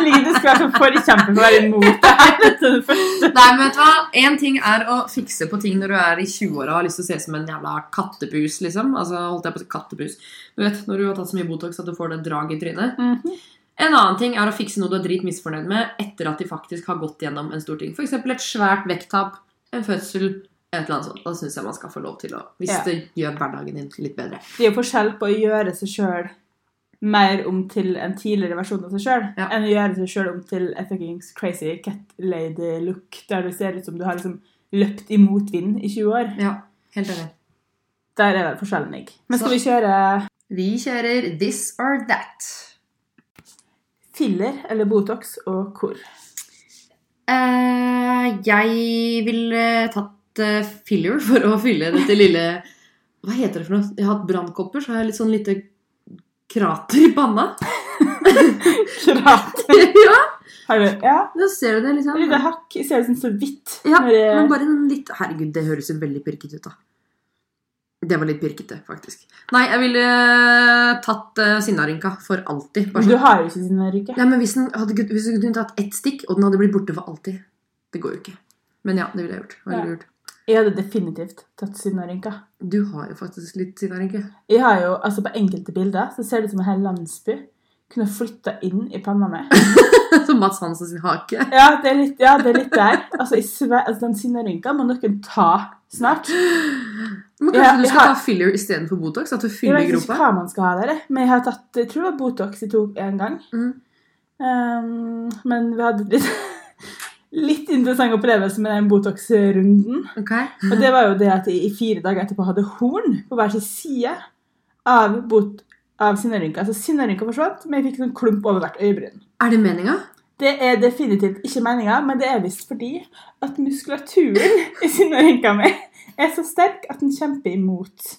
B: Ligger du skal være så forkjemper for å være imot det her. vet du, for-
A: Nei, men vet du hva? En ting er å fikse på ting når du er i 20-åra og har lyst til å se ut som en jævla kattepus, liksom. Altså, holdt jeg på å si kattepus. Du vet, når du har tatt så mye Botox at du får det drag i trynet.
B: Mhm.
A: En annen ting er å fikse noe du er drit misfornøyd med etter at de faktisk har gått gjennom en stor ting. F.eks. et svært vekttap, en fødsel, et eller annet sånt. Da syns jeg man skal få lov til å Hvis
B: Ja.
A: det gjør hverdagen din litt bedre.
B: Det er jo forskjell på å gjøre seg sjøl mer om til en tidligere versjon av seg sjøl,
A: Ja.
B: enn å gjøre seg sjøl om til et fuckings crazy cat lady look, der du ser ut som du har liksom løpt imot vind i 20 år.
A: Ja, helt enig.
B: Der er vel forskjellen ligger. Men skal
A: Så-
B: vi kjøre
A: Vi kjører this or that.
B: filler eller Botox og hvor?
A: Eh, jeg ville tatt eh, filler for å fylle dette lille Hva heter det for noe? Jeg har hatt brannkopper, så har jeg litt sånn lite krater i panna.
B: Kjørat.
A: ja,
B: Har du Ja,
A: da ser du det,
B: et lite
A: liksom.
B: hakk. Jeg ser ut som så vidt.
A: Ja,
B: når jeg-
A: men bare en litt Herregud, det høres jo veldig pirket ut, da. Det var litt pirkete, faktisk. Nei, jeg ville eh, tatt uh, sinnarynka for alltid. Bare
B: Du
A: sånn.
B: har jo ikke sin rykke.
A: Nei, men hvis den hadde, hvis den kunne tatt ett stikk, og den hadde blitt borte for alltid Det går jo ikke. Men ja, det ville jeg gjort. Hva ville du gjort?
B: Jeg hadde definitivt tatt sinnarynka.
A: Du har jo faktisk litt sinnarynke.
B: Jeg har jo, altså På enkelte bilder så ser det ut som en hel landsby. kunne flytta inn i panna mi.
A: Som Mats Hansen sin hake.
B: Ja, det er litt, ja, det er litt der. Altså, jeg sve, altså, Den sinnerynka må noen ta snart.
A: Men kanskje
B: Ja,
A: du
B: jeg
A: skal
B: har-
A: ta filler istedenfor Botox? At du
B: Jeg
A: fyller
B: vet ikke
A: gropa?
B: hva man skal ha der, jeg. men jeg har tatt jeg tror det var Botox jeg tok en gang.
A: Mm.
B: Um, men vi hadde litt, litt interessant opplevelse med den Botox-runden.
A: Ok.
B: Og det var jo det at jeg i fire dager etterpå hadde horn på hver sin side av, bot, av sinnerynka. Altså sinnerynka forsvant, men jeg fikk en sånn klump over hvert øyebryn.
A: Er det meninga?
B: Det er definitivt ikke meninga, men det er visst fordi at muskulaturen i sinnerynka mi er så sterk at den kjemper imot.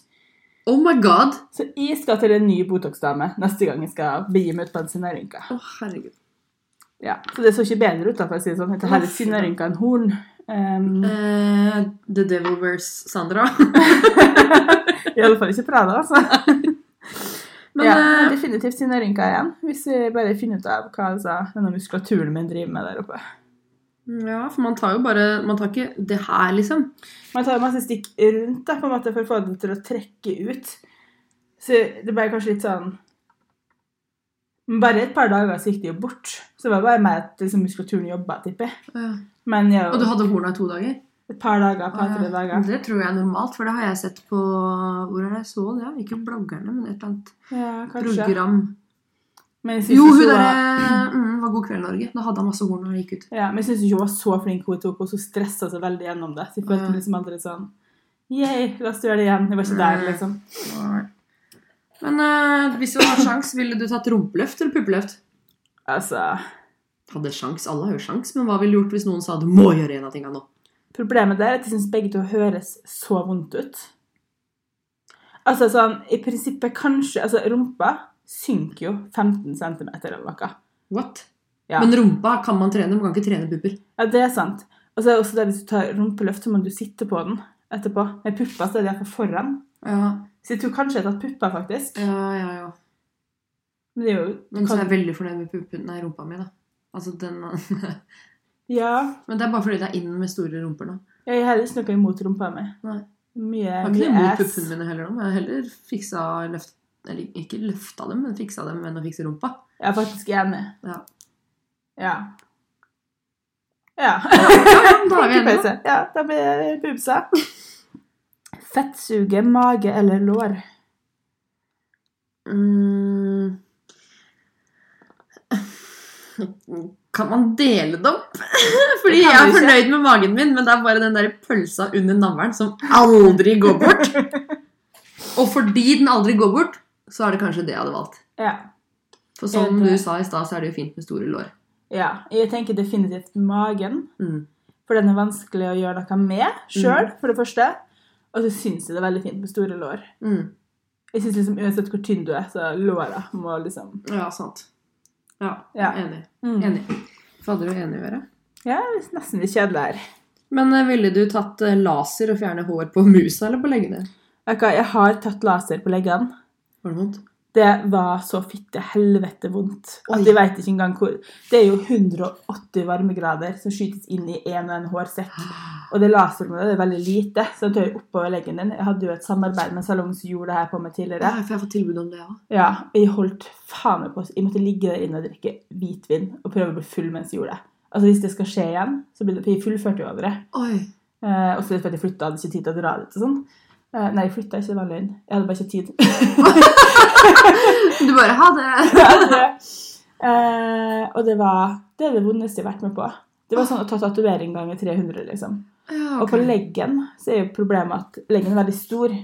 A: Oh my god!
B: Så jeg skal til en ny Botox-dame neste gang jeg skal begi meg ut på en sinnerynke.
A: Å, herregud.
B: Ja. Så det så ikke bedre ut, da, for å si det sånn. Dette her er sinnerynka enn horn. Um,
A: Eh, the Devil Wears Sandra.
B: I alle fall ikke Prada, altså.
A: Men
B: ja,
A: eh,
B: men definitivt sinnerynka igjen, hvis vi bare finner ut av hva altså, denne muskulaturen min driver med der oppe.
A: Ja, for man tar jo bare Man tar ikke det her, liksom.
B: Man tar jo masse stikk rundt da, på en måte, for å få det til å trekke ut. Så det ble kanskje litt sånn Men Bare et par dager så gikk det jo bort. Så det var bare mer at liksom, muskulaturen jobba, tipper jeg. Men jeg,
A: Og du hadde horna i to dager?
B: Et par dager, et par-tre
A: Ja,
B: dager.
A: Det tror jeg er normalt, for det har jeg sett på Hvor er det jeg så det? Ja, Ikke bloggerne, men et eller annet
B: Ja, kanskje.
A: program.
B: Men jeg synes
A: Jo, hun
B: ikke var-
A: derre mm, var God kveld, Norge. Da hadde han masse horn når han gikk ut.
B: Ja, men jeg syns ikke hun var så flink hun tok, og så stressa seg veldig gjennom det. Så jeg følte
A: Ja.
B: liksom aldri sånn Yeah, la oss gjøre det igjen. Jeg var ikke der,
A: Nei.
B: liksom.
A: Men eh, hvis du hadde sjans, ville du tatt rumpeløft eller puppeløft?
B: Altså,
A: Hadde sjans, Alle har jo sjans, men hva ville du gjort hvis noen sa du må gjøre en av tinga nå?
B: Problemet der er at jeg syns begge to høres så vondt ut. Altså sånn, i prinsippet kanskje Altså, rumpa synker jo 15 cm eller noe.
A: What?
B: Ja.
A: Men rumpa kan man trene, man kan ikke trene pupper.
B: Ja, det er sant. Og så er det også det hvis du tar rumpeløft, så må du sitte på den etterpå. Med puppa så er det iallfall foran.
A: Ja,
B: Så jeg tror kanskje jeg har tatt puppa, faktisk.
A: ja, ja, ja.
B: Men det er jo
A: Men så
B: kan-
A: er jeg veldig fornøyd med puppen, nei, rumpa mi, da. Altså, den Men
B: Ja.
A: det er bare fordi det er inn med store rumper nå.
B: Jeg har heller ikke noe imot rumpa mi.
A: Nei.
B: Mye,
A: Jeg har ikke
B: mye
A: noe imot
B: ass.
A: puppene mine heller nå, men jeg har heller fiksa løft... Eller ikke løfta dem, men fiksa dem enn å fikse rumpa.
B: Jeg er faktisk enig.
A: Ja.
B: Ja. Ja.
A: Da er vi enige.
B: Tenkepause. Ja, da blir det pubsa. Fettsuge, mage eller lår?
A: Mm. Kan man dele det opp? Fordi
B: Det kan
A: jeg er
B: du ikke.
A: fornøyd med magen min, men det er bare den der pølsa under navlen som aldri går bort. Og fordi den aldri går bort, så er det kanskje det jeg hadde valgt.
B: Ja.
A: For som
B: Enig.
A: du sa i stad, så er det jo fint med store lår.
B: ja. Jeg tenker definitivt magen,
A: Mm.
B: for den er vanskelig å gjøre noe med sjøl, for det første. Og så syns jeg det er veldig fint med store lår.
A: Mm.
B: Jeg synes liksom Uansett hvor tynn du er, så låra må liksom
A: Ja, sant. Ja,
B: Ja.
A: enig.
B: mm.
A: Enig. Fader og enig å gjøre.
B: Ja, det er nesten litt kjedelig her.
A: Men eh, ville du tatt eh, laser og fjerne hår på musa eller på leggene?
B: Ok, jeg har tatt laser på leggene.
A: Var det vondt?
B: Det var så fitte helvete vondt.
A: Oi.
B: At jeg vet ikke engang hvor Det er jo 180 varmegrader som skytes inn i én og en hårsekk. Og det laseren det er veldig lite, så den tør oppover leggen din. Jeg hadde jo et samarbeid med en salong som gjorde det her på meg
A: Ja,
B: tidligere.
A: for jeg har fått tilbud om det, ja.
B: Ja, og Jeg holdt faen meg på Jeg måtte ligge der inne og drikke hvitvin og prøve å bli full mens jeg gjorde det. Altså Hvis det skal skje igjen, så blir det For jeg fullførte jo over det.
A: Oi.
B: Eh, også litt fordi jeg flytta, hadde ikke tid til å dra dit og sånn. Eh, nei, jeg flytta ikke, det var løgn. Jeg hadde bare ikke tid.
A: Du bare ha det.
B: Eh, og det var det, er det vondeste jeg har vært med på. Det var sånn å ta tatovering ganger 300, liksom.
A: Ja,
B: Og på
A: ok.
B: leggen så er jo problemet at leggen er veldig stor.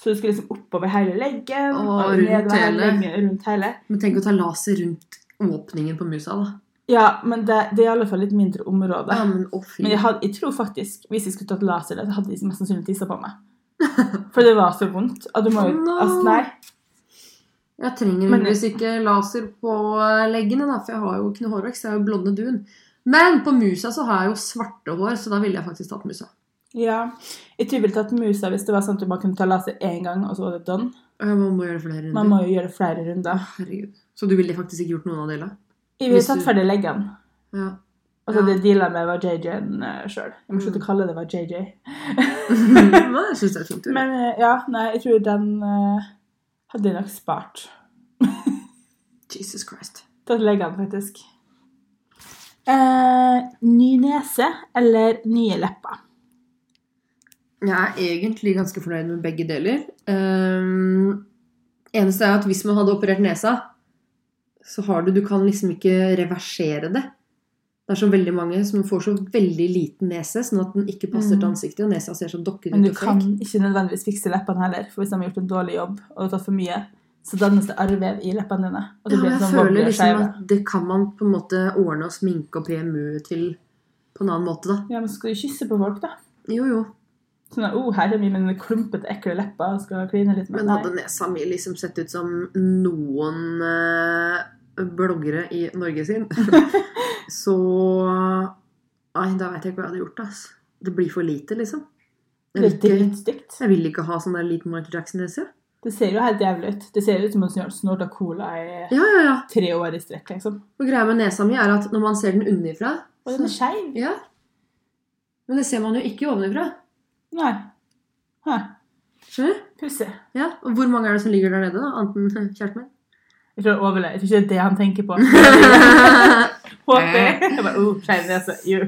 B: Så du skal liksom oppover hele leggen
A: Og
B: og
A: rundt
B: nedover hele.
A: hele.
B: Leggen, rundt hele.
A: Men tenk å ta laser rundt åpningen på musa, da.
B: Ja, men det, det er i alle fall litt mindre område.
A: Ja, men å fy.
B: Men jeg, hadde, jeg tror faktisk, hvis jeg skulle tatt laser, der, så hadde jeg mest sannsynlig tissa på meg. For det var så vondt. Og du må jo
A: Å,
B: altså, Nei.
A: Jeg trenger
B: Men-
A: heldigvis ikke laser på eh, leggene, da, for jeg har jo ikke noe hårvekst. Jeg har jo blonde dun. Men på musa så har jeg jo svarte hår, så da ville jeg faktisk tatt musa.
B: Ja. Jeg tror jeg ville tatt musa hvis det var sånn at du bare kunne ta laser én gang, og så var det done.
A: Ja, Man må gjøre flere runder.
B: Man må jo gjøre flere runder.
A: Herregud. Så du ville faktisk ikke gjort noen av delene?
B: Jeg ville
A: Hvis
B: tatt
A: du-
B: ferdig leggene.
A: Ja.
B: Og så
A: Ja.
B: hadde jeg deala med var JJ-en sjøl. eh, Jeg må slutte
A: Mm.
B: å kalle det var JJ.
A: Men jeg synes det er fint. Men,
B: Men eh, ja, nei, jeg tror den eh, hadde jeg nok spart.
A: Jesus Christ.
B: Da legger han faktisk. Eh, ny nese eller nye lepper?
A: Jeg er egentlig ganske fornøyd med begge deler. Um, eneste er at hvis man hadde operert nesa, så har du Du kan liksom ikke reversere det. Det er så veldig mange som får så veldig liten nese, sånn at den ikke passer til
B: Mm.
A: ansiktet, og nesa ser så dokket
B: Men
A: ut.
B: du
A: og
B: kan
A: frekk.
B: ikke nødvendigvis fikse leppene heller, for hvis de har gjort en dårlig jobb og det har tatt for mye, så dannes det arrvev i leppene dine. Og
A: Ja,
B: så blir
A: men jeg
B: det sånn
A: føler
B: wobbler
A: liksom
B: skeive.
A: at det kan man på en måte ordne og sminke og PMU til på en annen måte, da.
B: Ja, men skal du kysse på folk, da?
A: Jo, jo.
B: Sånn at, oh, her er vi med mine klumpete, ekle lepper og skal kline litt med
A: Men hadde nesa mi liksom sett ut som noen eh, bloggere i Norge sin, så Nei, da veit jeg ikke hva jeg hadde gjort. ass. Det blir for lite, liksom. Jeg
B: Det
A: vil
B: er
A: ikke,
B: dritstygt.
A: jeg vil ikke ha sånn der liten Michael Jackson-nese.
B: Det ser jo helt jævlig ut. Det ser ut som om du har snorta cola i
A: Ja, ja, ja.
B: tre år i strekk, liksom.
A: Og greia med nesa mi er at når man ser den unnifra
B: Og den er
A: så-
B: skeiv.
A: Ja. Men det ser man jo ikke ovenifra.
B: Nei. Hæ.
A: Skjønner du?
B: Pussig.
A: Ja. Og hvor mange er det som ligger der nede, da? Annet enn kjæresten min?
B: Jeg tror, jeg overlever. jeg tror ikke det er det han tenker på. Håper jeg. Jeg bare, oh, skeiv nese. Jo.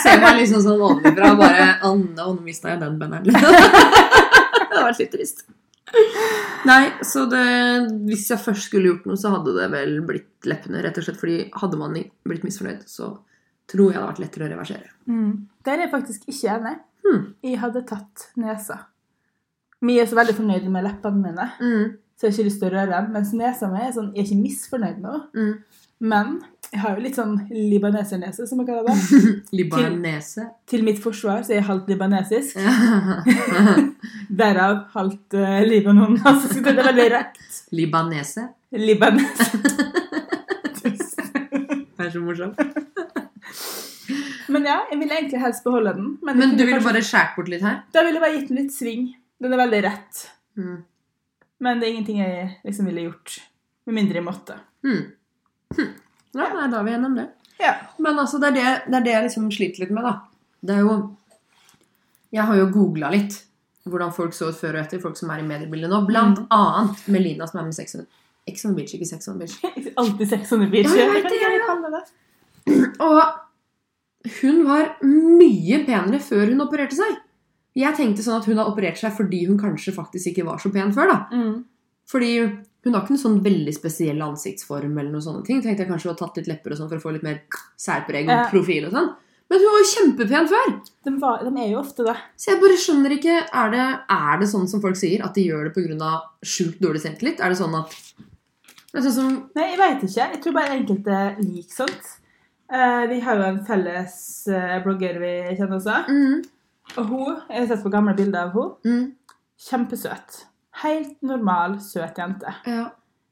A: Ser meg liksom sånn ovenfra og bare Å nå mista jeg den benneren. det hadde vært litt trist. Nei, så det, hvis jeg først skulle gjort noe, så hadde det vel blitt leppene. Rett og slett fordi hadde man blitt misfornøyd, så tror jeg det hadde vært lettere å reversere.
B: Mm. Der er jeg faktisk ikke enig.
A: Hmm.
B: Jeg hadde tatt nesa. Vi er så veldig fornøyd med leppene mine,
A: Mm,
B: så jeg har ikke lyst til å røre dem. Mens nesa mi er sånn, jeg er ikke misfornøyd med henne.
A: mm.
B: Men jeg har jo litt sånn libanesernese, som jeg kaller det.
A: Libanese.
B: Til mitt forsvar så er jeg halvt libanesisk.
A: Ja.
B: Derav halvt uh, Libanon. Altså, så det er veldig rett.
A: Libanese.
B: Libanes.
A: Det er så morsomt.
B: Men ja, jeg vil egentlig helst beholde den. Men, jeg
A: Men du
B: kunne
A: ville
B: kanskje-
A: bare skjært bort litt her?
B: Da ville jeg bare gitt den litt sving. Den er veldig rett.
A: Mm.
B: Men det er ingenting jeg liksom ville gjort. Med mindre jeg måtte.
A: Mm. Hm. Ja, nei, da er vi gjennom det.
B: Ja.
A: Men altså, det er det, det er det jeg liksom sliter litt med, da. Det er jo Jeg har jo googla litt hvordan folk så ut før og etter, folk som er i mediebildet nå. Blant annet Melina, som er med Sex on Ex on the Beach, ikke Sex on the Beach.
B: Alltid sex on the beach.
A: Ja, jeg vet det,
B: Hva kan
A: ja.
B: jeg kalle det?
A: Og hun var mye penere før hun opererte seg. Jeg tenkte sånn at hun har operert seg fordi hun kanskje faktisk ikke var så pen før, da. Fordi hun har ikke noen sånn veldig spesiell ansiktsform eller noen sånne ting. Tenkte jeg kanskje hun har tatt litt lepper og sånn for å få litt mer særpreg og
B: Ja.
A: profil og sånn. Men hun var jo kjempepen før!
B: De, var, de er jo ofte det.
A: Så jeg bare skjønner ikke Er det, er det sånn som folk sier, at de gjør det pga. sjukt dårlig selvtillit? Er det sånn at det er sånn som,
B: Nei, jeg veit ikke. Jeg tror bare enkelte liker sånt. Eh, vi har jo en felles eh, blogger vi kjenner også.
A: mm,
B: Og hun, Jeg har sett på gamle bilder av hun.
A: mm,
B: Kjempesøt. Helt normal, søt jente.
A: ja.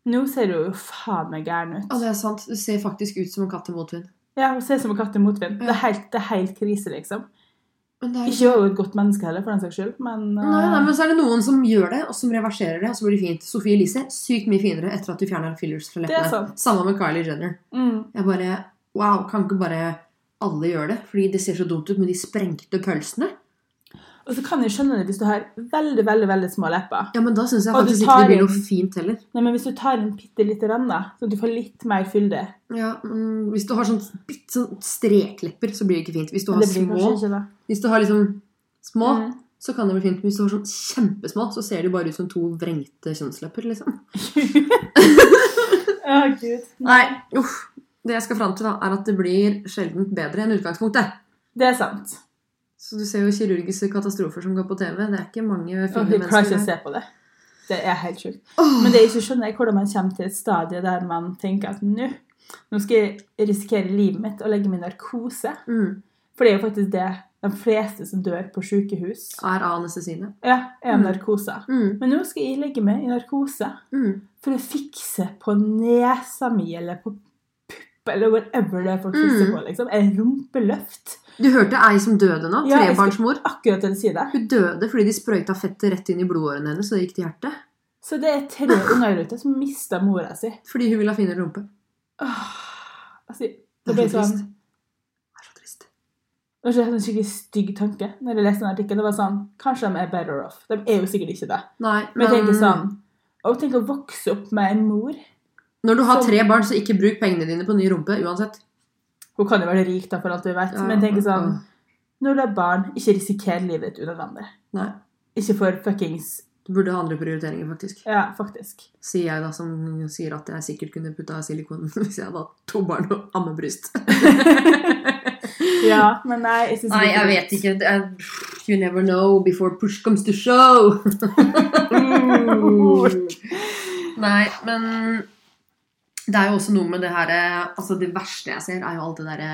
B: Nå ser hun jo faen meg gæren
A: ja,
B: ut.
A: det er sant. Du ser faktisk ut som en katt i motvind.
B: Ja, Hun ser ut som en katt i motvind.
A: Ja.
B: Det, er helt- det er helt krise, liksom.
A: Men det er, sånn-
B: Ikke hun er jo et godt menneske heller, for den saks skyld, men eh,
A: nei, nei, men så er det noen som gjør det, og som reverserer det, og så blir det fint. Sophie Elise sykt mye finere etter at du fjerner fillers fra
B: Det er
A: leppene.
B: sant.
A: Samme med Kylie Jenner.
B: mm,
A: Jeg bare Wow, kan ikke bare alle gjøre det? Fordi det ser så dumt ut med de sprengte pølsene.
B: Og så kan jeg skjønne det hvis du har veldig, veldig, veldig små lepper.
A: Ja, men da syns jeg
B: Og du
A: faktisk ikke
B: tar
A: det blir
B: inn-
A: noe fint heller.
B: Nei, men hvis du tar en bitte lite rann, da, så du får litt mer fylde
A: Ja, mm, Hvis du har sånn, bitt- sånn streklepper, så blir det ikke fint. Hvis du har
B: Det blir kanskje
A: små,
B: ikke det.
A: hvis du har liksom små
B: Mm.
A: så kan det bli fint. Men hvis du har sånn kjempesmå, så ser de bare ut som to vrengte kjønnslepper. liksom.
B: Å, gud.
A: Nei, uff. Det jeg skal fram til, da, er at det blir sjelden bedre enn utgangspunktet.
B: Det er sant.
A: Så du ser jo kirurgiske katastrofer som går på TV. Det er ikke mange
B: Og
A: fine
B: det klarer ikke å
A: mennesker.
B: se på det. Det er helt sjukt.
A: Åh,
B: Men det jeg ikke skjønner, er hvordan man kommer til et stadie der man tenker at nå nå skal jeg risikere livet mitt og legge meg i narkose.
A: mm,
B: For det er jo faktisk det de fleste som dør på sykehus,
A: er av anestesiene.
B: ja, er
A: Mm.
B: narkose.
A: Mm,
B: Men nå skal jeg legge meg i narkose
A: mm,
B: for å fikse på nesa mi eller på pupp eller whatever det er folk fikser
A: Mm.
B: på. liksom. En rumpeløft.
A: Du hørte ei som døde nå?
B: Ja, jeg skal-
A: Trebarnsmor.
B: Akkurat til å si det.
A: Hun døde fordi de sprøyta fettet rett inn i blodårene hennes, og det gikk til hjertet.
B: Så det er tre unger der ute som mista mora si.
A: Fordi hun ville ha finere rumpe.
B: Åh, altså,
A: Det
B: det
A: er
B: ble
A: så
B: sånn,
A: trist. Det er så trist.
B: det var en skikkelig stygg tanke når jeg leste den artikkelen. Det var sånn, Kanskje de er better off. De er jo sikkert ikke det.
A: Nei,
B: sånn, Men jeg tenker sånn, og tenk å vokse opp med en mor
A: Når du har
B: Som-
A: tre barn, så ikke bruk pengene dine på ny rumpe uansett.
B: Hun kan jo være rik, da, for alt vi vet,
A: Ja,
B: men tenk sånn
A: ja.
B: Når du har barn, ikke risiker livet ditt unødvendig.
A: Nei.
B: Ikke for fuckings
A: Du burde ha andre prioriteringer, faktisk.
B: Ja, faktisk.
A: Sier jeg da, som sier at jeg sikkert kunne putta silikon hvis jeg hadde hatt to barn og ammebryst.
B: Ja, men nei, jeg synes
A: Nei,
B: det er
A: jeg vet ikke. Det er- You never know before push comes to show.
B: Mm.
A: Nei, men det er jo også noe med det her eh, Altså, det verste jeg ser, er jo alt det derre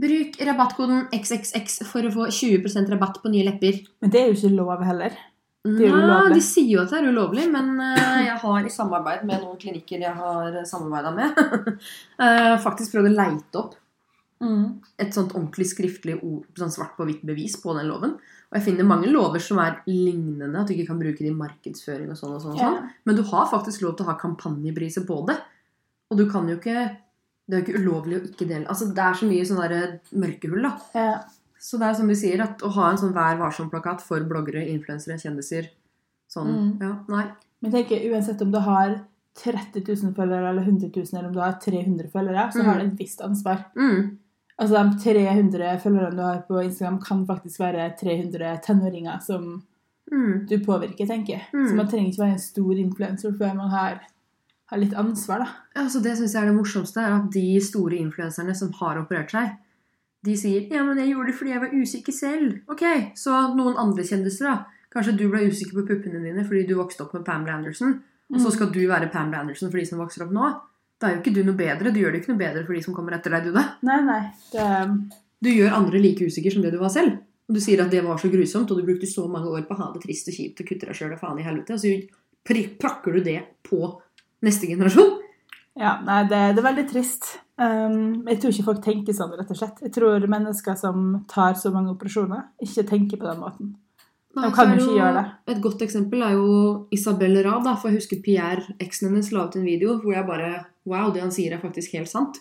A: Bruk rabattkoden XXX for å få 20 rabatt på nye lepper.
B: Men det er jo ikke lov heller. er jo
A: Ja,
B: ulovlig.
A: de sier jo at det er ulovlig, men eh, jeg har i samarbeid med noen klinikker jeg har samarbeida med, eh, faktisk prøvd å leite opp et sånt ordentlig skriftlig ord, sånn svart på hvitt bevis på den loven. Og jeg finner mange lover som er lignende, at du ikke kan bruke det i markedsføring og sånn og sånn. Og
B: Ja.
A: sånn. Men du har faktisk lov til å ha kampanjepriser på det. Og du kan jo ikke Det er jo ikke ulovlig å ikke dele Altså, det er så mye sånn der mørkehull, da.
B: Ja.
A: Så det er som de sier, at å ha en sånn Vær varsom-plakat for bloggere, influensere, kjendiser Sånn.
B: Mm.
A: Ja, nei.
B: Men tenk, uansett om du har 30 000 følgere eller 100 000, eller om du har 300 følgere, så
A: Mm.
B: har du et visst ansvar.
A: Mm.
B: Altså, de 300 følgerne du har på Instagram, kan faktisk være 300 tenåringer som
A: Mm.
B: du påvirker, tenker jeg.
A: Mm.
B: Så man trenger ikke være en stor influenser før man har, har litt ansvar, da.
A: Altså, det syns jeg er det morsomste, er at de store influenserne som har operert seg, de sier 'Ja, men jeg gjorde det fordi jeg var usikker selv'. Ok, så noen andre kjendiser, da. Kanskje du ble usikker på puppene dine fordi du vokste opp med Pamela Anderson, og så skal du være Pamela Anderson for de som vokser opp nå. Da er jo ikke du noe bedre. Du gjør det ikke noe bedre for de som kommer etter deg, du, da.
B: Nei, nei. Det,
A: Du gjør andre like usikker som det du var selv. Og du sier at det var så grusomt, og du brukte så mange år på å ha det trist og kjipt og kutte deg sjøl og faen i helvete, og så pri- prakker du det på neste generasjon.
B: ja, nei, det, det er veldig trist. Um, jeg tror ikke folk tenker sånn, rett og slett. Jeg tror mennesker som tar så mange operasjoner, ikke tenker på den måten.
A: Nei,
B: De
A: så
B: kan
A: er
B: jo ikke gjøre det.
A: Et godt eksempel er jo Isabel Rad. Da, for jeg husker Pierre, eksen hennes, la ut en video hvor jeg bare Wow, det han sier er faktisk helt sant.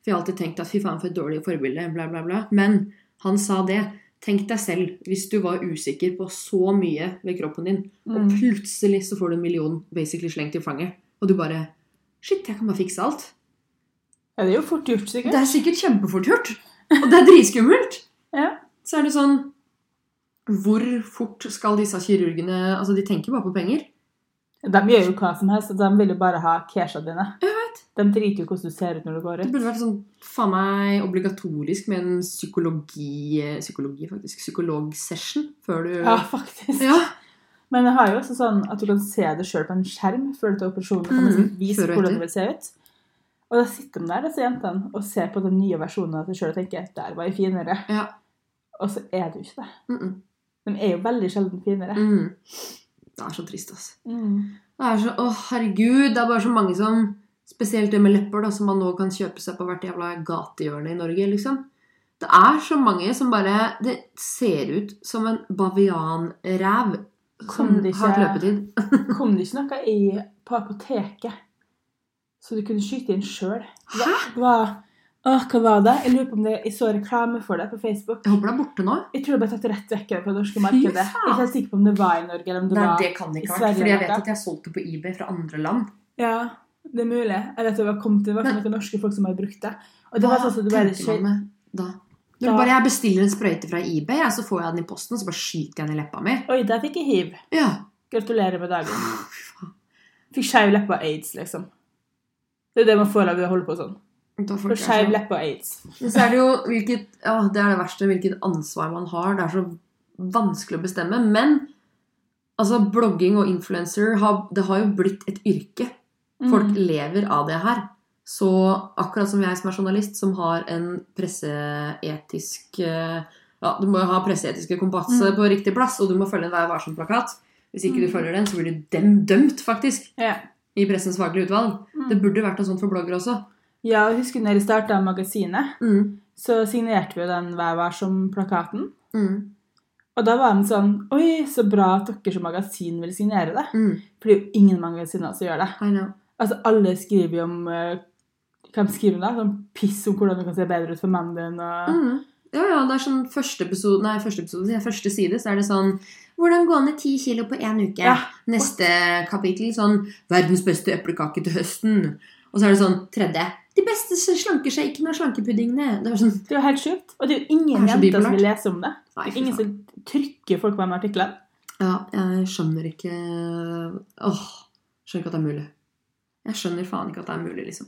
A: For jeg har alltid tenkt at fy faen, for et dårlig forbilde, bla, bla, bla. Men han sa det. Tenk deg selv, hvis du var usikker på så mye ved kroppen din, og
B: Mm.
A: plutselig så får du en million basically slengt i fanget, og du bare Shit, jeg kan bare fikse alt.
B: Ja, det er jo fort gjort, sikkert.
A: Det er sikkert kjempefort gjort. Og det er dritskummelt.
B: Ja.
A: Så er det sånn Hvor fort skal disse kirurgene Altså, de tenker bare på penger.
B: De gjør jo hva som helst, og de vil jo bare ha casha dine.
A: Jeg vet.
B: De driter jo hvordan du ser ut når du går
A: Det
B: ut.
A: burde vært sånn faen meg obligatorisk med en psykologi Psykologi, faktisk. Psykologsession før du
B: Ja, faktisk.
A: Ja.
B: Men jeg har jo også sånn at du kan se det sjøl på en skjerm før du tar operasjonen. Kan
A: Mm,
B: liksom vise
A: før og
B: hvordan
A: etter.
B: du vil se ut. Og da sitter de der, disse jentene, og ser på den nye versjonen av seg sjøl og tenker der var jeg finere.
A: Ja.
B: Og så er du ikke det.
A: Mm -mm.
B: De er jo veldig sjelden finere.
A: Mm. Det er så trist, altså.
B: Mm.
A: Det er så, å herregud, det er bare så mange som Spesielt det med lepper, da, som man nå kan kjøpe seg på hvert jævla gatehjørne i Norge. liksom. Det er så mange som bare Det ser ut som en bavianræv som
B: Kom det ikke-
A: har løpetid.
B: Kom det ikke noe i, på apoteket så du kunne skyte inn sjøl? Hva, hva, åh, hva var det? Jeg lurer på om det, jeg så reklame for det på Facebook.
A: Jeg håper det er borte nå.
B: Jeg tror det ble tatt rett vekk fra det norske
A: Fy
B: markedet. Jeg
A: faen!
B: er ikke helt sikker på om det var i Norge. eller om det var...
A: kan
B: i Sverige
A: fordi
B: var
A: jeg
B: det.
A: har solgt det på eBay fra andre land.
B: Ja, det er mulig. Jeg vet det var kommet det var
A: Men-
B: noen norske folk som hadde brukt det. Og det var sånn som du bare
A: tenker man med da? Når
B: Da-
A: du bare jeg bestiller en sprøyte fra eBay, ja, så får jeg den i posten, og så bare skyter jeg den i leppa mi.
B: Oi, der fikk jeg hiv.
A: Ja.
B: Gratulerer med dagen. Fikk skeiv leppe av aids, liksom. Det er det man får av å holde på sånn.
A: Da får
B: Får
A: ikke jeg
B: skeiv
A: sånn.
B: leppe av aids.
A: Men så er det jo hvilket, ja, det er det verste, hvilket ansvar man har. Det er så vanskelig å bestemme. Men altså, blogging og influencer har, det har jo blitt et yrke. Folk
B: Mm.
A: lever av det her. Så akkurat som jeg som er journalist, som har en presseetisk eh, Ja, du må jo ha presseetiske kompasser
B: Mm.
A: på riktig plass, og du må følge en Vær varsom-plakat. Hvis ikke
B: Mm.
A: du følger den, så blir du dem dømt, faktisk.
B: Ja.
A: I Pressens faglige utvalg.
B: Mm.
A: Det burde vært noe sånt for bloggere også.
B: Ja, og husker du når jeg starta magasinet,
A: Mm.
B: så signerte vi jo den Vær varsom-plakaten.
A: Mm.
B: Og da var den sånn Oi, så bra at dere som magasin vil signere det.
A: Mm.
B: For det er jo ingen magasiner som gjør det.
A: I know.
B: Altså, alle skriver jo om eh, Hvem skriver det? Sånn piss om hvordan du kan se bedre ut for mannen din. Og...
A: Mm. Ja, ja, det er sånn første episode, nei, første, episode, sier jeg, første side, så er det sånn Hvordan gå ned ti kilo på én uke?
B: Ja.
A: Neste kapittel sånn Verdens beste eplekake til høsten. Og så er det sånn tredje. De beste slanker seg ikke med slankepuddingene. Det var sånn
B: Det er jo helt sjukt. Og det er jo ingen
A: Det er så
B: jenter som
A: bipolært.
B: vil lese om det.
A: Nei,
B: Det
A: fy
B: er ingen
A: faen.
B: som trykker folk på de artiklene.
A: Ja, jeg skjønner ikke Åh, skjønner ikke at det er mulig. Jeg skjønner faen ikke at det er mulig, liksom.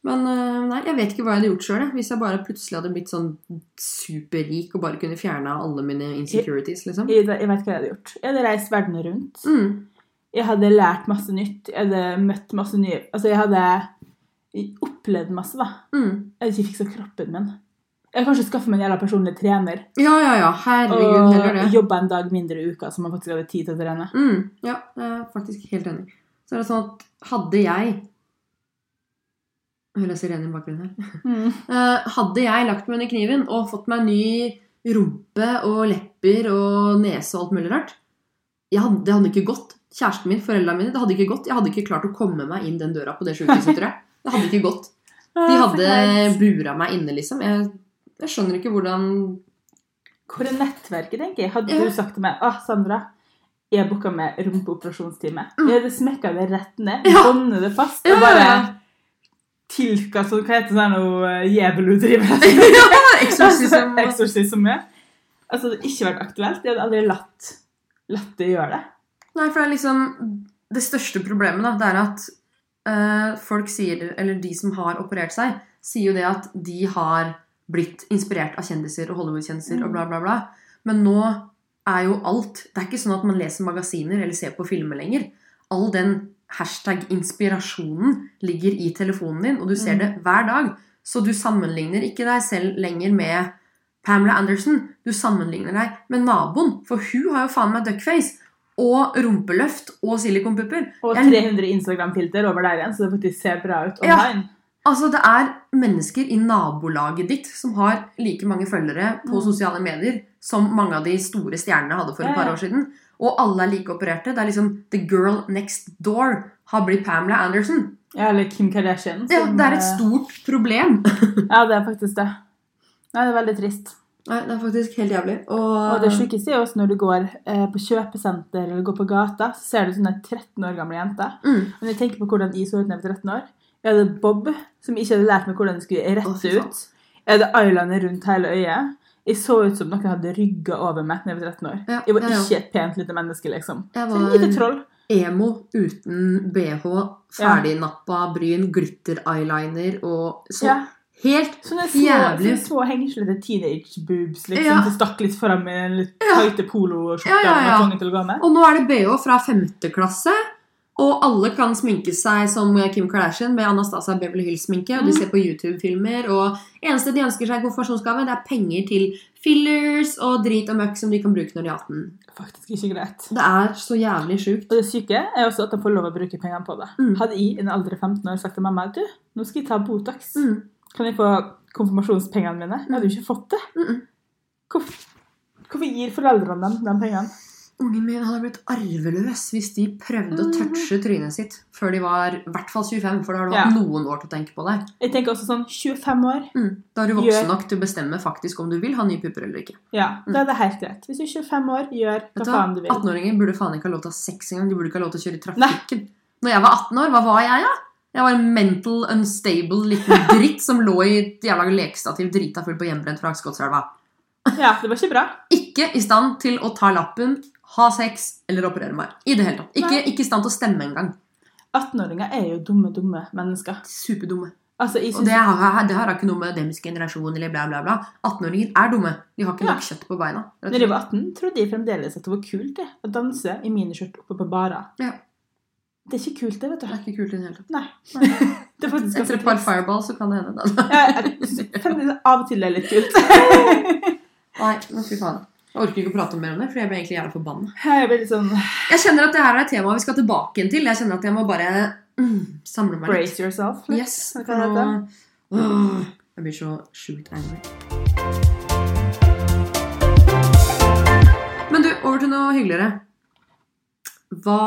A: Men øh, nei, jeg vet ikke hva jeg hadde gjort sjøl. Hvis jeg bare plutselig hadde blitt sånn superrik og bare kunne fjerna alle mine insecurities, liksom.
B: Jeg, jeg vet hva jeg hadde gjort. Jeg hadde reist verden rundt.
A: Mm.
B: Jeg hadde lært masse nytt. Jeg hadde møtt masse nye Altså, jeg hadde opplevd masse, da.
A: Mm.
B: Jeg hadde ikke fiksa kroppen min. Jeg hadde kanskje skaffa meg en jævla personlig trener
A: Ja, ja, ja. Herregud, heller
B: og
A: det.
B: jobba en dag mindre i uka, så man faktisk hadde tid til å trene.
A: Mm, ja, jeg er faktisk helt enig. Så er det sånn at hadde jeg Jeg hører sirenen i bakgrunnen her.
B: Mm.
A: Eh, Hadde jeg lagt meg under kniven og fått meg ny rumpe og lepper og nese og alt mulig rart jeg hadde, Det hadde ikke gått. Kjæresten min, foreldrene mine, det hadde ikke gått. Jeg hadde ikke klart å komme meg inn den døra på det sjukehuset, tror jeg. Det hadde ikke gått. De
B: Ah,
A: hadde bura meg inne, liksom. Jeg, jeg skjønner ikke hvordan
B: Hvor er nettverket, tenker jeg? Hadde
A: Ja.
B: du sagt til meg ah, Sandra, jeg booka med rumpeoperasjonstime.
A: Mm.
B: Jeg hadde smekka det rett ned,
A: Ja.
B: båndet det fast
A: Ja,
B: og bare
A: ja, ja.
B: tilka sånn Hva heter det sånn noe jævelu driver med?
A: Ja,
B: Eksorsisme.
A: eksorsisme.
B: ja. Altså, det hadde ikke vært aktuelt. Jeg hadde aldri latt, latt det gjøre det.
A: Nei, for det er liksom Det største problemet da, det er at eh, folk sier Eller de som har operert seg, sier jo det at de har blitt inspirert av kjendiser og Hollywood-kjendiser og bla, bla, bla. Men nå er jo alt Det er ikke sånn at man leser magasiner eller ser på filmer lenger. All den hashtag-inspirasjonen ligger i telefonen din, og du ser
B: Mm.
A: det hver dag. Så du sammenligner ikke deg selv lenger med Pamela Anderson. Du sammenligner deg med naboen, for hun har jo faen meg duckface. Og rumpeløft og silikonpupper.
B: Og
A: Jeg-
B: 300 Instagram-filter over der igjen, så det faktisk ser bra ut
A: Ja.
B: online.
A: Altså, det er mennesker i nabolaget ditt som har like mange følgere på
B: Mm.
A: sosiale medier som mange av de store stjernene hadde for
B: Ja,
A: et par
B: ja.
A: år siden. Og alle er like opererte. Det er liksom The girl next door har blitt Pamela Anderson.
B: Ja. Eller Kim Kardashian.
A: Ja,
B: som,
A: det er et
B: eh,
A: stort problem.
B: Ja, det er faktisk det. Nei, det er veldig trist.
A: Nei, det er faktisk helt jævlig. Og,
B: Og det sjukeste er jo også når du går eh, på kjøpesenter eller går på gata, så ser du sånne 13 år gamle jenter.
A: Mm.
B: Men jeg tenker på hvordan jeg så ut da jeg var 13 år. Jeg hadde bob, som ikke hadde lært meg hvordan det skulle
A: Å,
B: rette
A: fy faen.
B: ut. Jeg hadde eyeliner rundt hele øyet. Jeg så ut som noen hadde rygga over meg da jeg var 13 år.
A: Ja,
B: Jeg var
A: ja, ja.
B: ikke et pent lite menneske, liksom.
A: Jeg
B: Så et
A: var
B: lite troll.
A: emo uten bh, ferdignappa bryn, glitter-eyeliner og så
B: Ja.
A: helt
B: Sånne små,
A: Jævlig.
B: sånne små hengslete teenage boobs liksom,
A: Ja.
B: som stakk litt foran med en litt
A: Ja.
B: tighte poloskjorte
A: Ja, ja,
B: og
A: ja.
B: tvunget til å gå med.
A: Og nå er det BH fra femte klasse. Og alle kan sminke seg som Kim Kardashian med Anastasia Beverly Hills-sminke. Og de
B: Mm.
A: ser på YouTube-filmer. Og eneste de ønsker seg i konfirmasjonsgave, det er penger til fillers og drit og møkk som de kan bruke når de er 18.
B: Faktisk ikke greit.
A: Det er så jævlig sjukt.
B: Og det syke er også at de får lov å bruke pengene på det.
A: Mm.
B: Hadde jeg i en alder av 15 år sagt til mamma du, nå skal jeg ta Botox,
A: Mm.
B: kan jeg få konfirmasjonspengene mine? Jeg hadde jo ikke fått det.
A: Mm -mm.
B: Hvorfor, hvorfor gir foreldrene dem de pengene?
A: Ungen min hadde blitt arveløs hvis de prøvde å touche trynet sitt før de var i hvert fall 25, for da har du hatt
B: Ja.
A: noen år til å tenke på deg.
B: Jeg tenker også sånn 25 år.
A: Mm. Da er du
B: Gjør-
A: voksen nok til å bestemme faktisk om du vil ha nye pupper eller ikke.
B: Ja,
A: Mm.
B: da er det helt greit. Hvis du er 25 år, gjør
A: Vet
B: hva
A: du hva?
B: faen du vil.
A: 18-åringer burde faen ikke ha lov til å ha sex engang. De burde ikke ha lov til å kjøre i trafikken. Når jeg var 18 år, hva var jeg, da? Jeg var en mental unstable liten dritt som lå i et jævla lekestativ drita full på hjemmebrent fra Akskodselva.
B: Ja, det var ikke bra.
A: Ikke i stand til å ta lappen, ha sex eller operere meg. I det hele tatt. Ikke,
B: Nei.
A: ikke i stand til å stemme engang.
B: 18-åringer er jo dumme, dumme mennesker.
A: Superdumme.
B: Altså, jeg
A: Og
B: synes
A: det har, det har ikke noe med deres generasjon eller bla, bla, bla. 18-åringer er dumme. De har ikke
B: Ja.
A: nok kjøtt på beina. rett og
B: Når jeg
A: slett.
B: var 18, trodde jeg fremdeles at det var kult det, å danse i miniskjørt oppe på barer.
A: Ja.
B: Det er ikke kult, det, vet
A: Det er
B: du.
A: ikke kult i det hele tatt.
B: Nei.
A: Nei.
B: Det er faktisk
A: Etter
B: ganske
A: et par
B: trist.
A: fireball så kan det hende. Da.
B: Ja, Eh, jeg synes av og til det er litt kult.
A: Nei, men fy faen. Jeg orker ikke å prate mer om det, for jeg ble egentlig jævla forbanna.
B: Jeg blir litt sånn
A: Jeg kjenner at det her er et tema vi skal tilbake igjen til. Jeg kjenner at jeg må bare mm, samle meg litt.
B: brace yourself. litt.
A: Yes,
B: Hva
A: for
B: heter
A: nå
B: det?
A: Åh, Jeg blir så sjukt angry. Men du, over til noe hyggeligere. Hva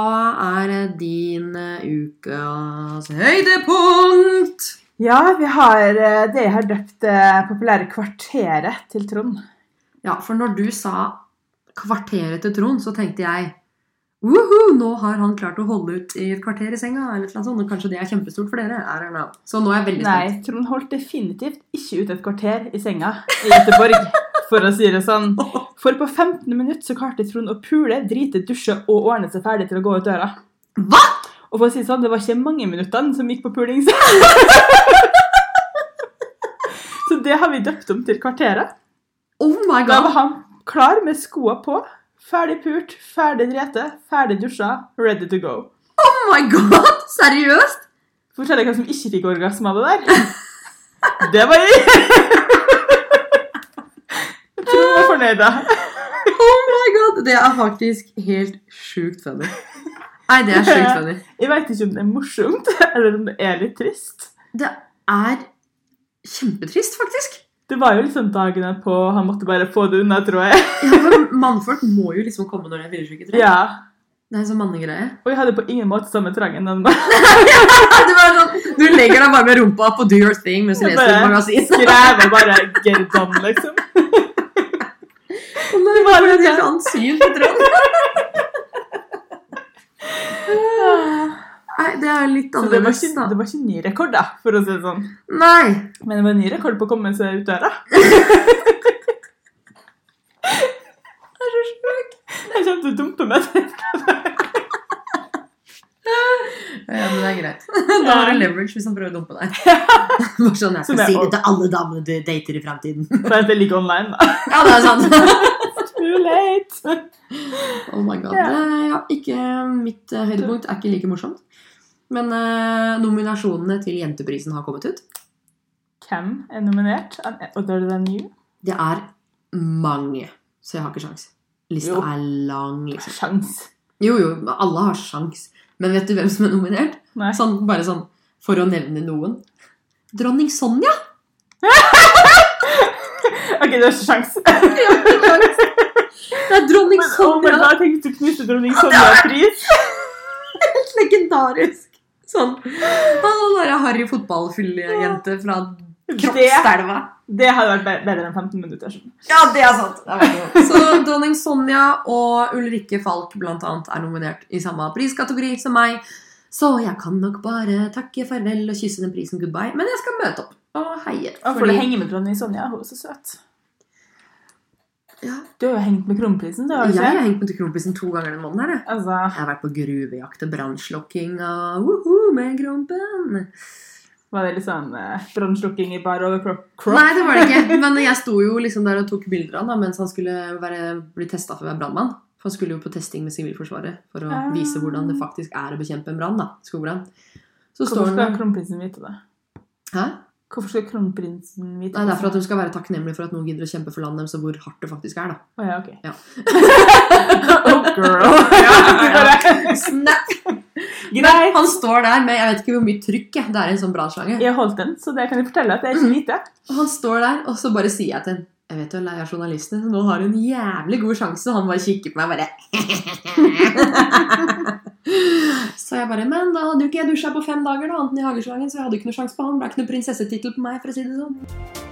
A: er din eh, ukas høydepunkt?
B: Ja, vi har eh, det jeg har døpt eh, populære kvarteret til Trond.
A: Ja, for når du sa kvarteret til Trond, så tenkte jeg Woohoo, nå har han klart å holde ut i et kvarter i senga. eller et eller annet sånt, og Kanskje det er kjempestort for dere? I don't know. Så nå er jeg veldig spent.
B: Nei, Trond holdt definitivt ikke ut et kvarter i senga i Göteborg, for å si det sånn. For på 15 minutter så klarte Trond å pule, drite, dusje og ordne seg ferdig til å gå ut døra.
A: Hva?!
B: Og for å si det sånn, det var ikke mange minuttene som gikk på puling. Så, så det har vi døpt om til kvarteret.
A: Oh my
B: Da var
A: god!
B: han klar med skoa på, ferdig pult, ferdig drete, ferdig dusja, ready to go.
A: Oh my god! Seriøst?
B: Fortell deg hvem som ikke fikk orgasme av det der. Det var jeg! Jeg tror hun var fornøyd, da.
A: Oh my god! Det er faktisk helt sjukt funny. Nei, det er sjukt funny.
B: Jeg veit ikke om det er morsomt, eller om det er litt trist.
A: Det er kjempetrist, faktisk.
B: Det var jo liksom dagene på Han måtte bare få det unna, tror jeg.
A: Ja, for Mannfolk må jo liksom komme når de er fyllesyke. tror jeg.
B: Ja.
A: Det er en sånn mannegreie.
B: Og jeg hadde på ingen måte samme trangen. den da.
A: Du, bare sånn, du legger deg bare med rumpa på do your thing mens du
B: Jeg
A: leser et
B: bare
A: magasin.
B: skrev og bare get it done, liksom.
A: Det
B: var
A: var
B: det
A: et
B: der.
A: helt annet syn på Trond. Nei, det er litt
B: Så det var,
A: annerledes,
B: ikke,
A: da.
B: det var ikke ny rekord, da, for å si det sånn.
A: Nei!
B: Men det var en ny rekord på å komme seg ut døra. det er så sjukt. Jeg kommer til å dumpe meg.
A: Ja, men det er greit. Da har du leverage hvis han prøver å dumpe deg. Bare sånn, jeg
B: Som
A: skal
B: jeg
A: si det
B: også-
A: til alle damene du dater i fremtiden.
B: For at jeg ligger online, da.
A: Ja, det er sant.
B: Too late.
A: Oh my god.
B: Ja.
A: Eh, Ja, ikke, mitt eh, høydepunkt er ikke like morsomt. Men eh, nominasjonene til Jenteprisen har kommet ut.
B: Hvem er nominert? Og da er det den nye?
A: Det er mange, så jeg har ikke sjans. Lista
B: Jo.
A: er lang, liksom.
B: Altså, Sjans.
A: Jo, jo, alle har sjans. Men vet du hvem som er nominert?
B: Nei.
A: Sånn, bare sånn, for å nevne noen. Dronning Sonja!
B: Ok, det er ikke sjans.
A: Det er dronning
B: Men oh my
A: Sonja!
B: god, tenk hvis du knuste dronning Sonja-pris.
A: Helt legendarisk! Sånn. Han var en harry fotballfyllejente fra
B: Det,
A: Kroppselva.
B: det hadde vært be- bedre enn 15 minutter. sånn. skjønner du.
A: Ja, det er sant! Det er veldig bra. Så dronning Sonja og Ulrikke Falk blant annet er nominert i samme priskategori som meg. Så jeg kan nok bare takke farvel og kysse den prisen goodbye. Men jeg skal møte opp og heie.
B: Og for det henger med dronning Sonja. Hun er så søt.
A: Ja.
B: Du har jo hengt med kronprinsen, du har du
A: Jeg
B: ikke?
A: har hengt med til kronprisen to ganger den måneden. her, jeg.
B: Altså,
A: Jeg har vært på gruvejakt og brannslukking og woho med krompen.
B: Var det litt sånn eh, brannslukking i bar over kropp? kropp?
A: Nei, det var det ikke. Men jeg sto jo liksom der og tok bilder av han da, mens han skulle være, bli testa for å være brannmann. For Han skulle jo på testing med Sivilforsvaret for å
B: Ah.
A: vise hvordan det faktisk er å bekjempe en brann. da, skogbrann. Så
B: Hvorfor
A: står
B: skal
A: han
B: kronprinsen vite det?
A: Hæ?
B: Hvorfor skal kronprinsen vite
A: Nei, det er for at de skal være takknemlige for at noen gidder å kjempe for landet deres, og hvor hardt det faktisk er. da.
B: Å ja, ok.
A: Ja.
B: oh, girl.
A: Snap!
B: Greit.
A: Han står der med jeg vet ikke hvor mye trykk jeg, det er i en sånn brannslange.
B: Jeg holdt den, så det kan jeg fortelle at jeg ikke lite.
A: Og han står der, og så bare sier jeg til ham Jeg vet du er lei av journalistene, så nå har du en jævlig god sjanse. Og han bare kikker på meg bare Så jeg bare Men da hadde jo ikke jeg dusja på fem dager, da, annet enn i hageslangen, så jeg hadde jo ikke noe sjanse på han. Det ble ikke noe prinsessetittel på meg, for å si det sånn.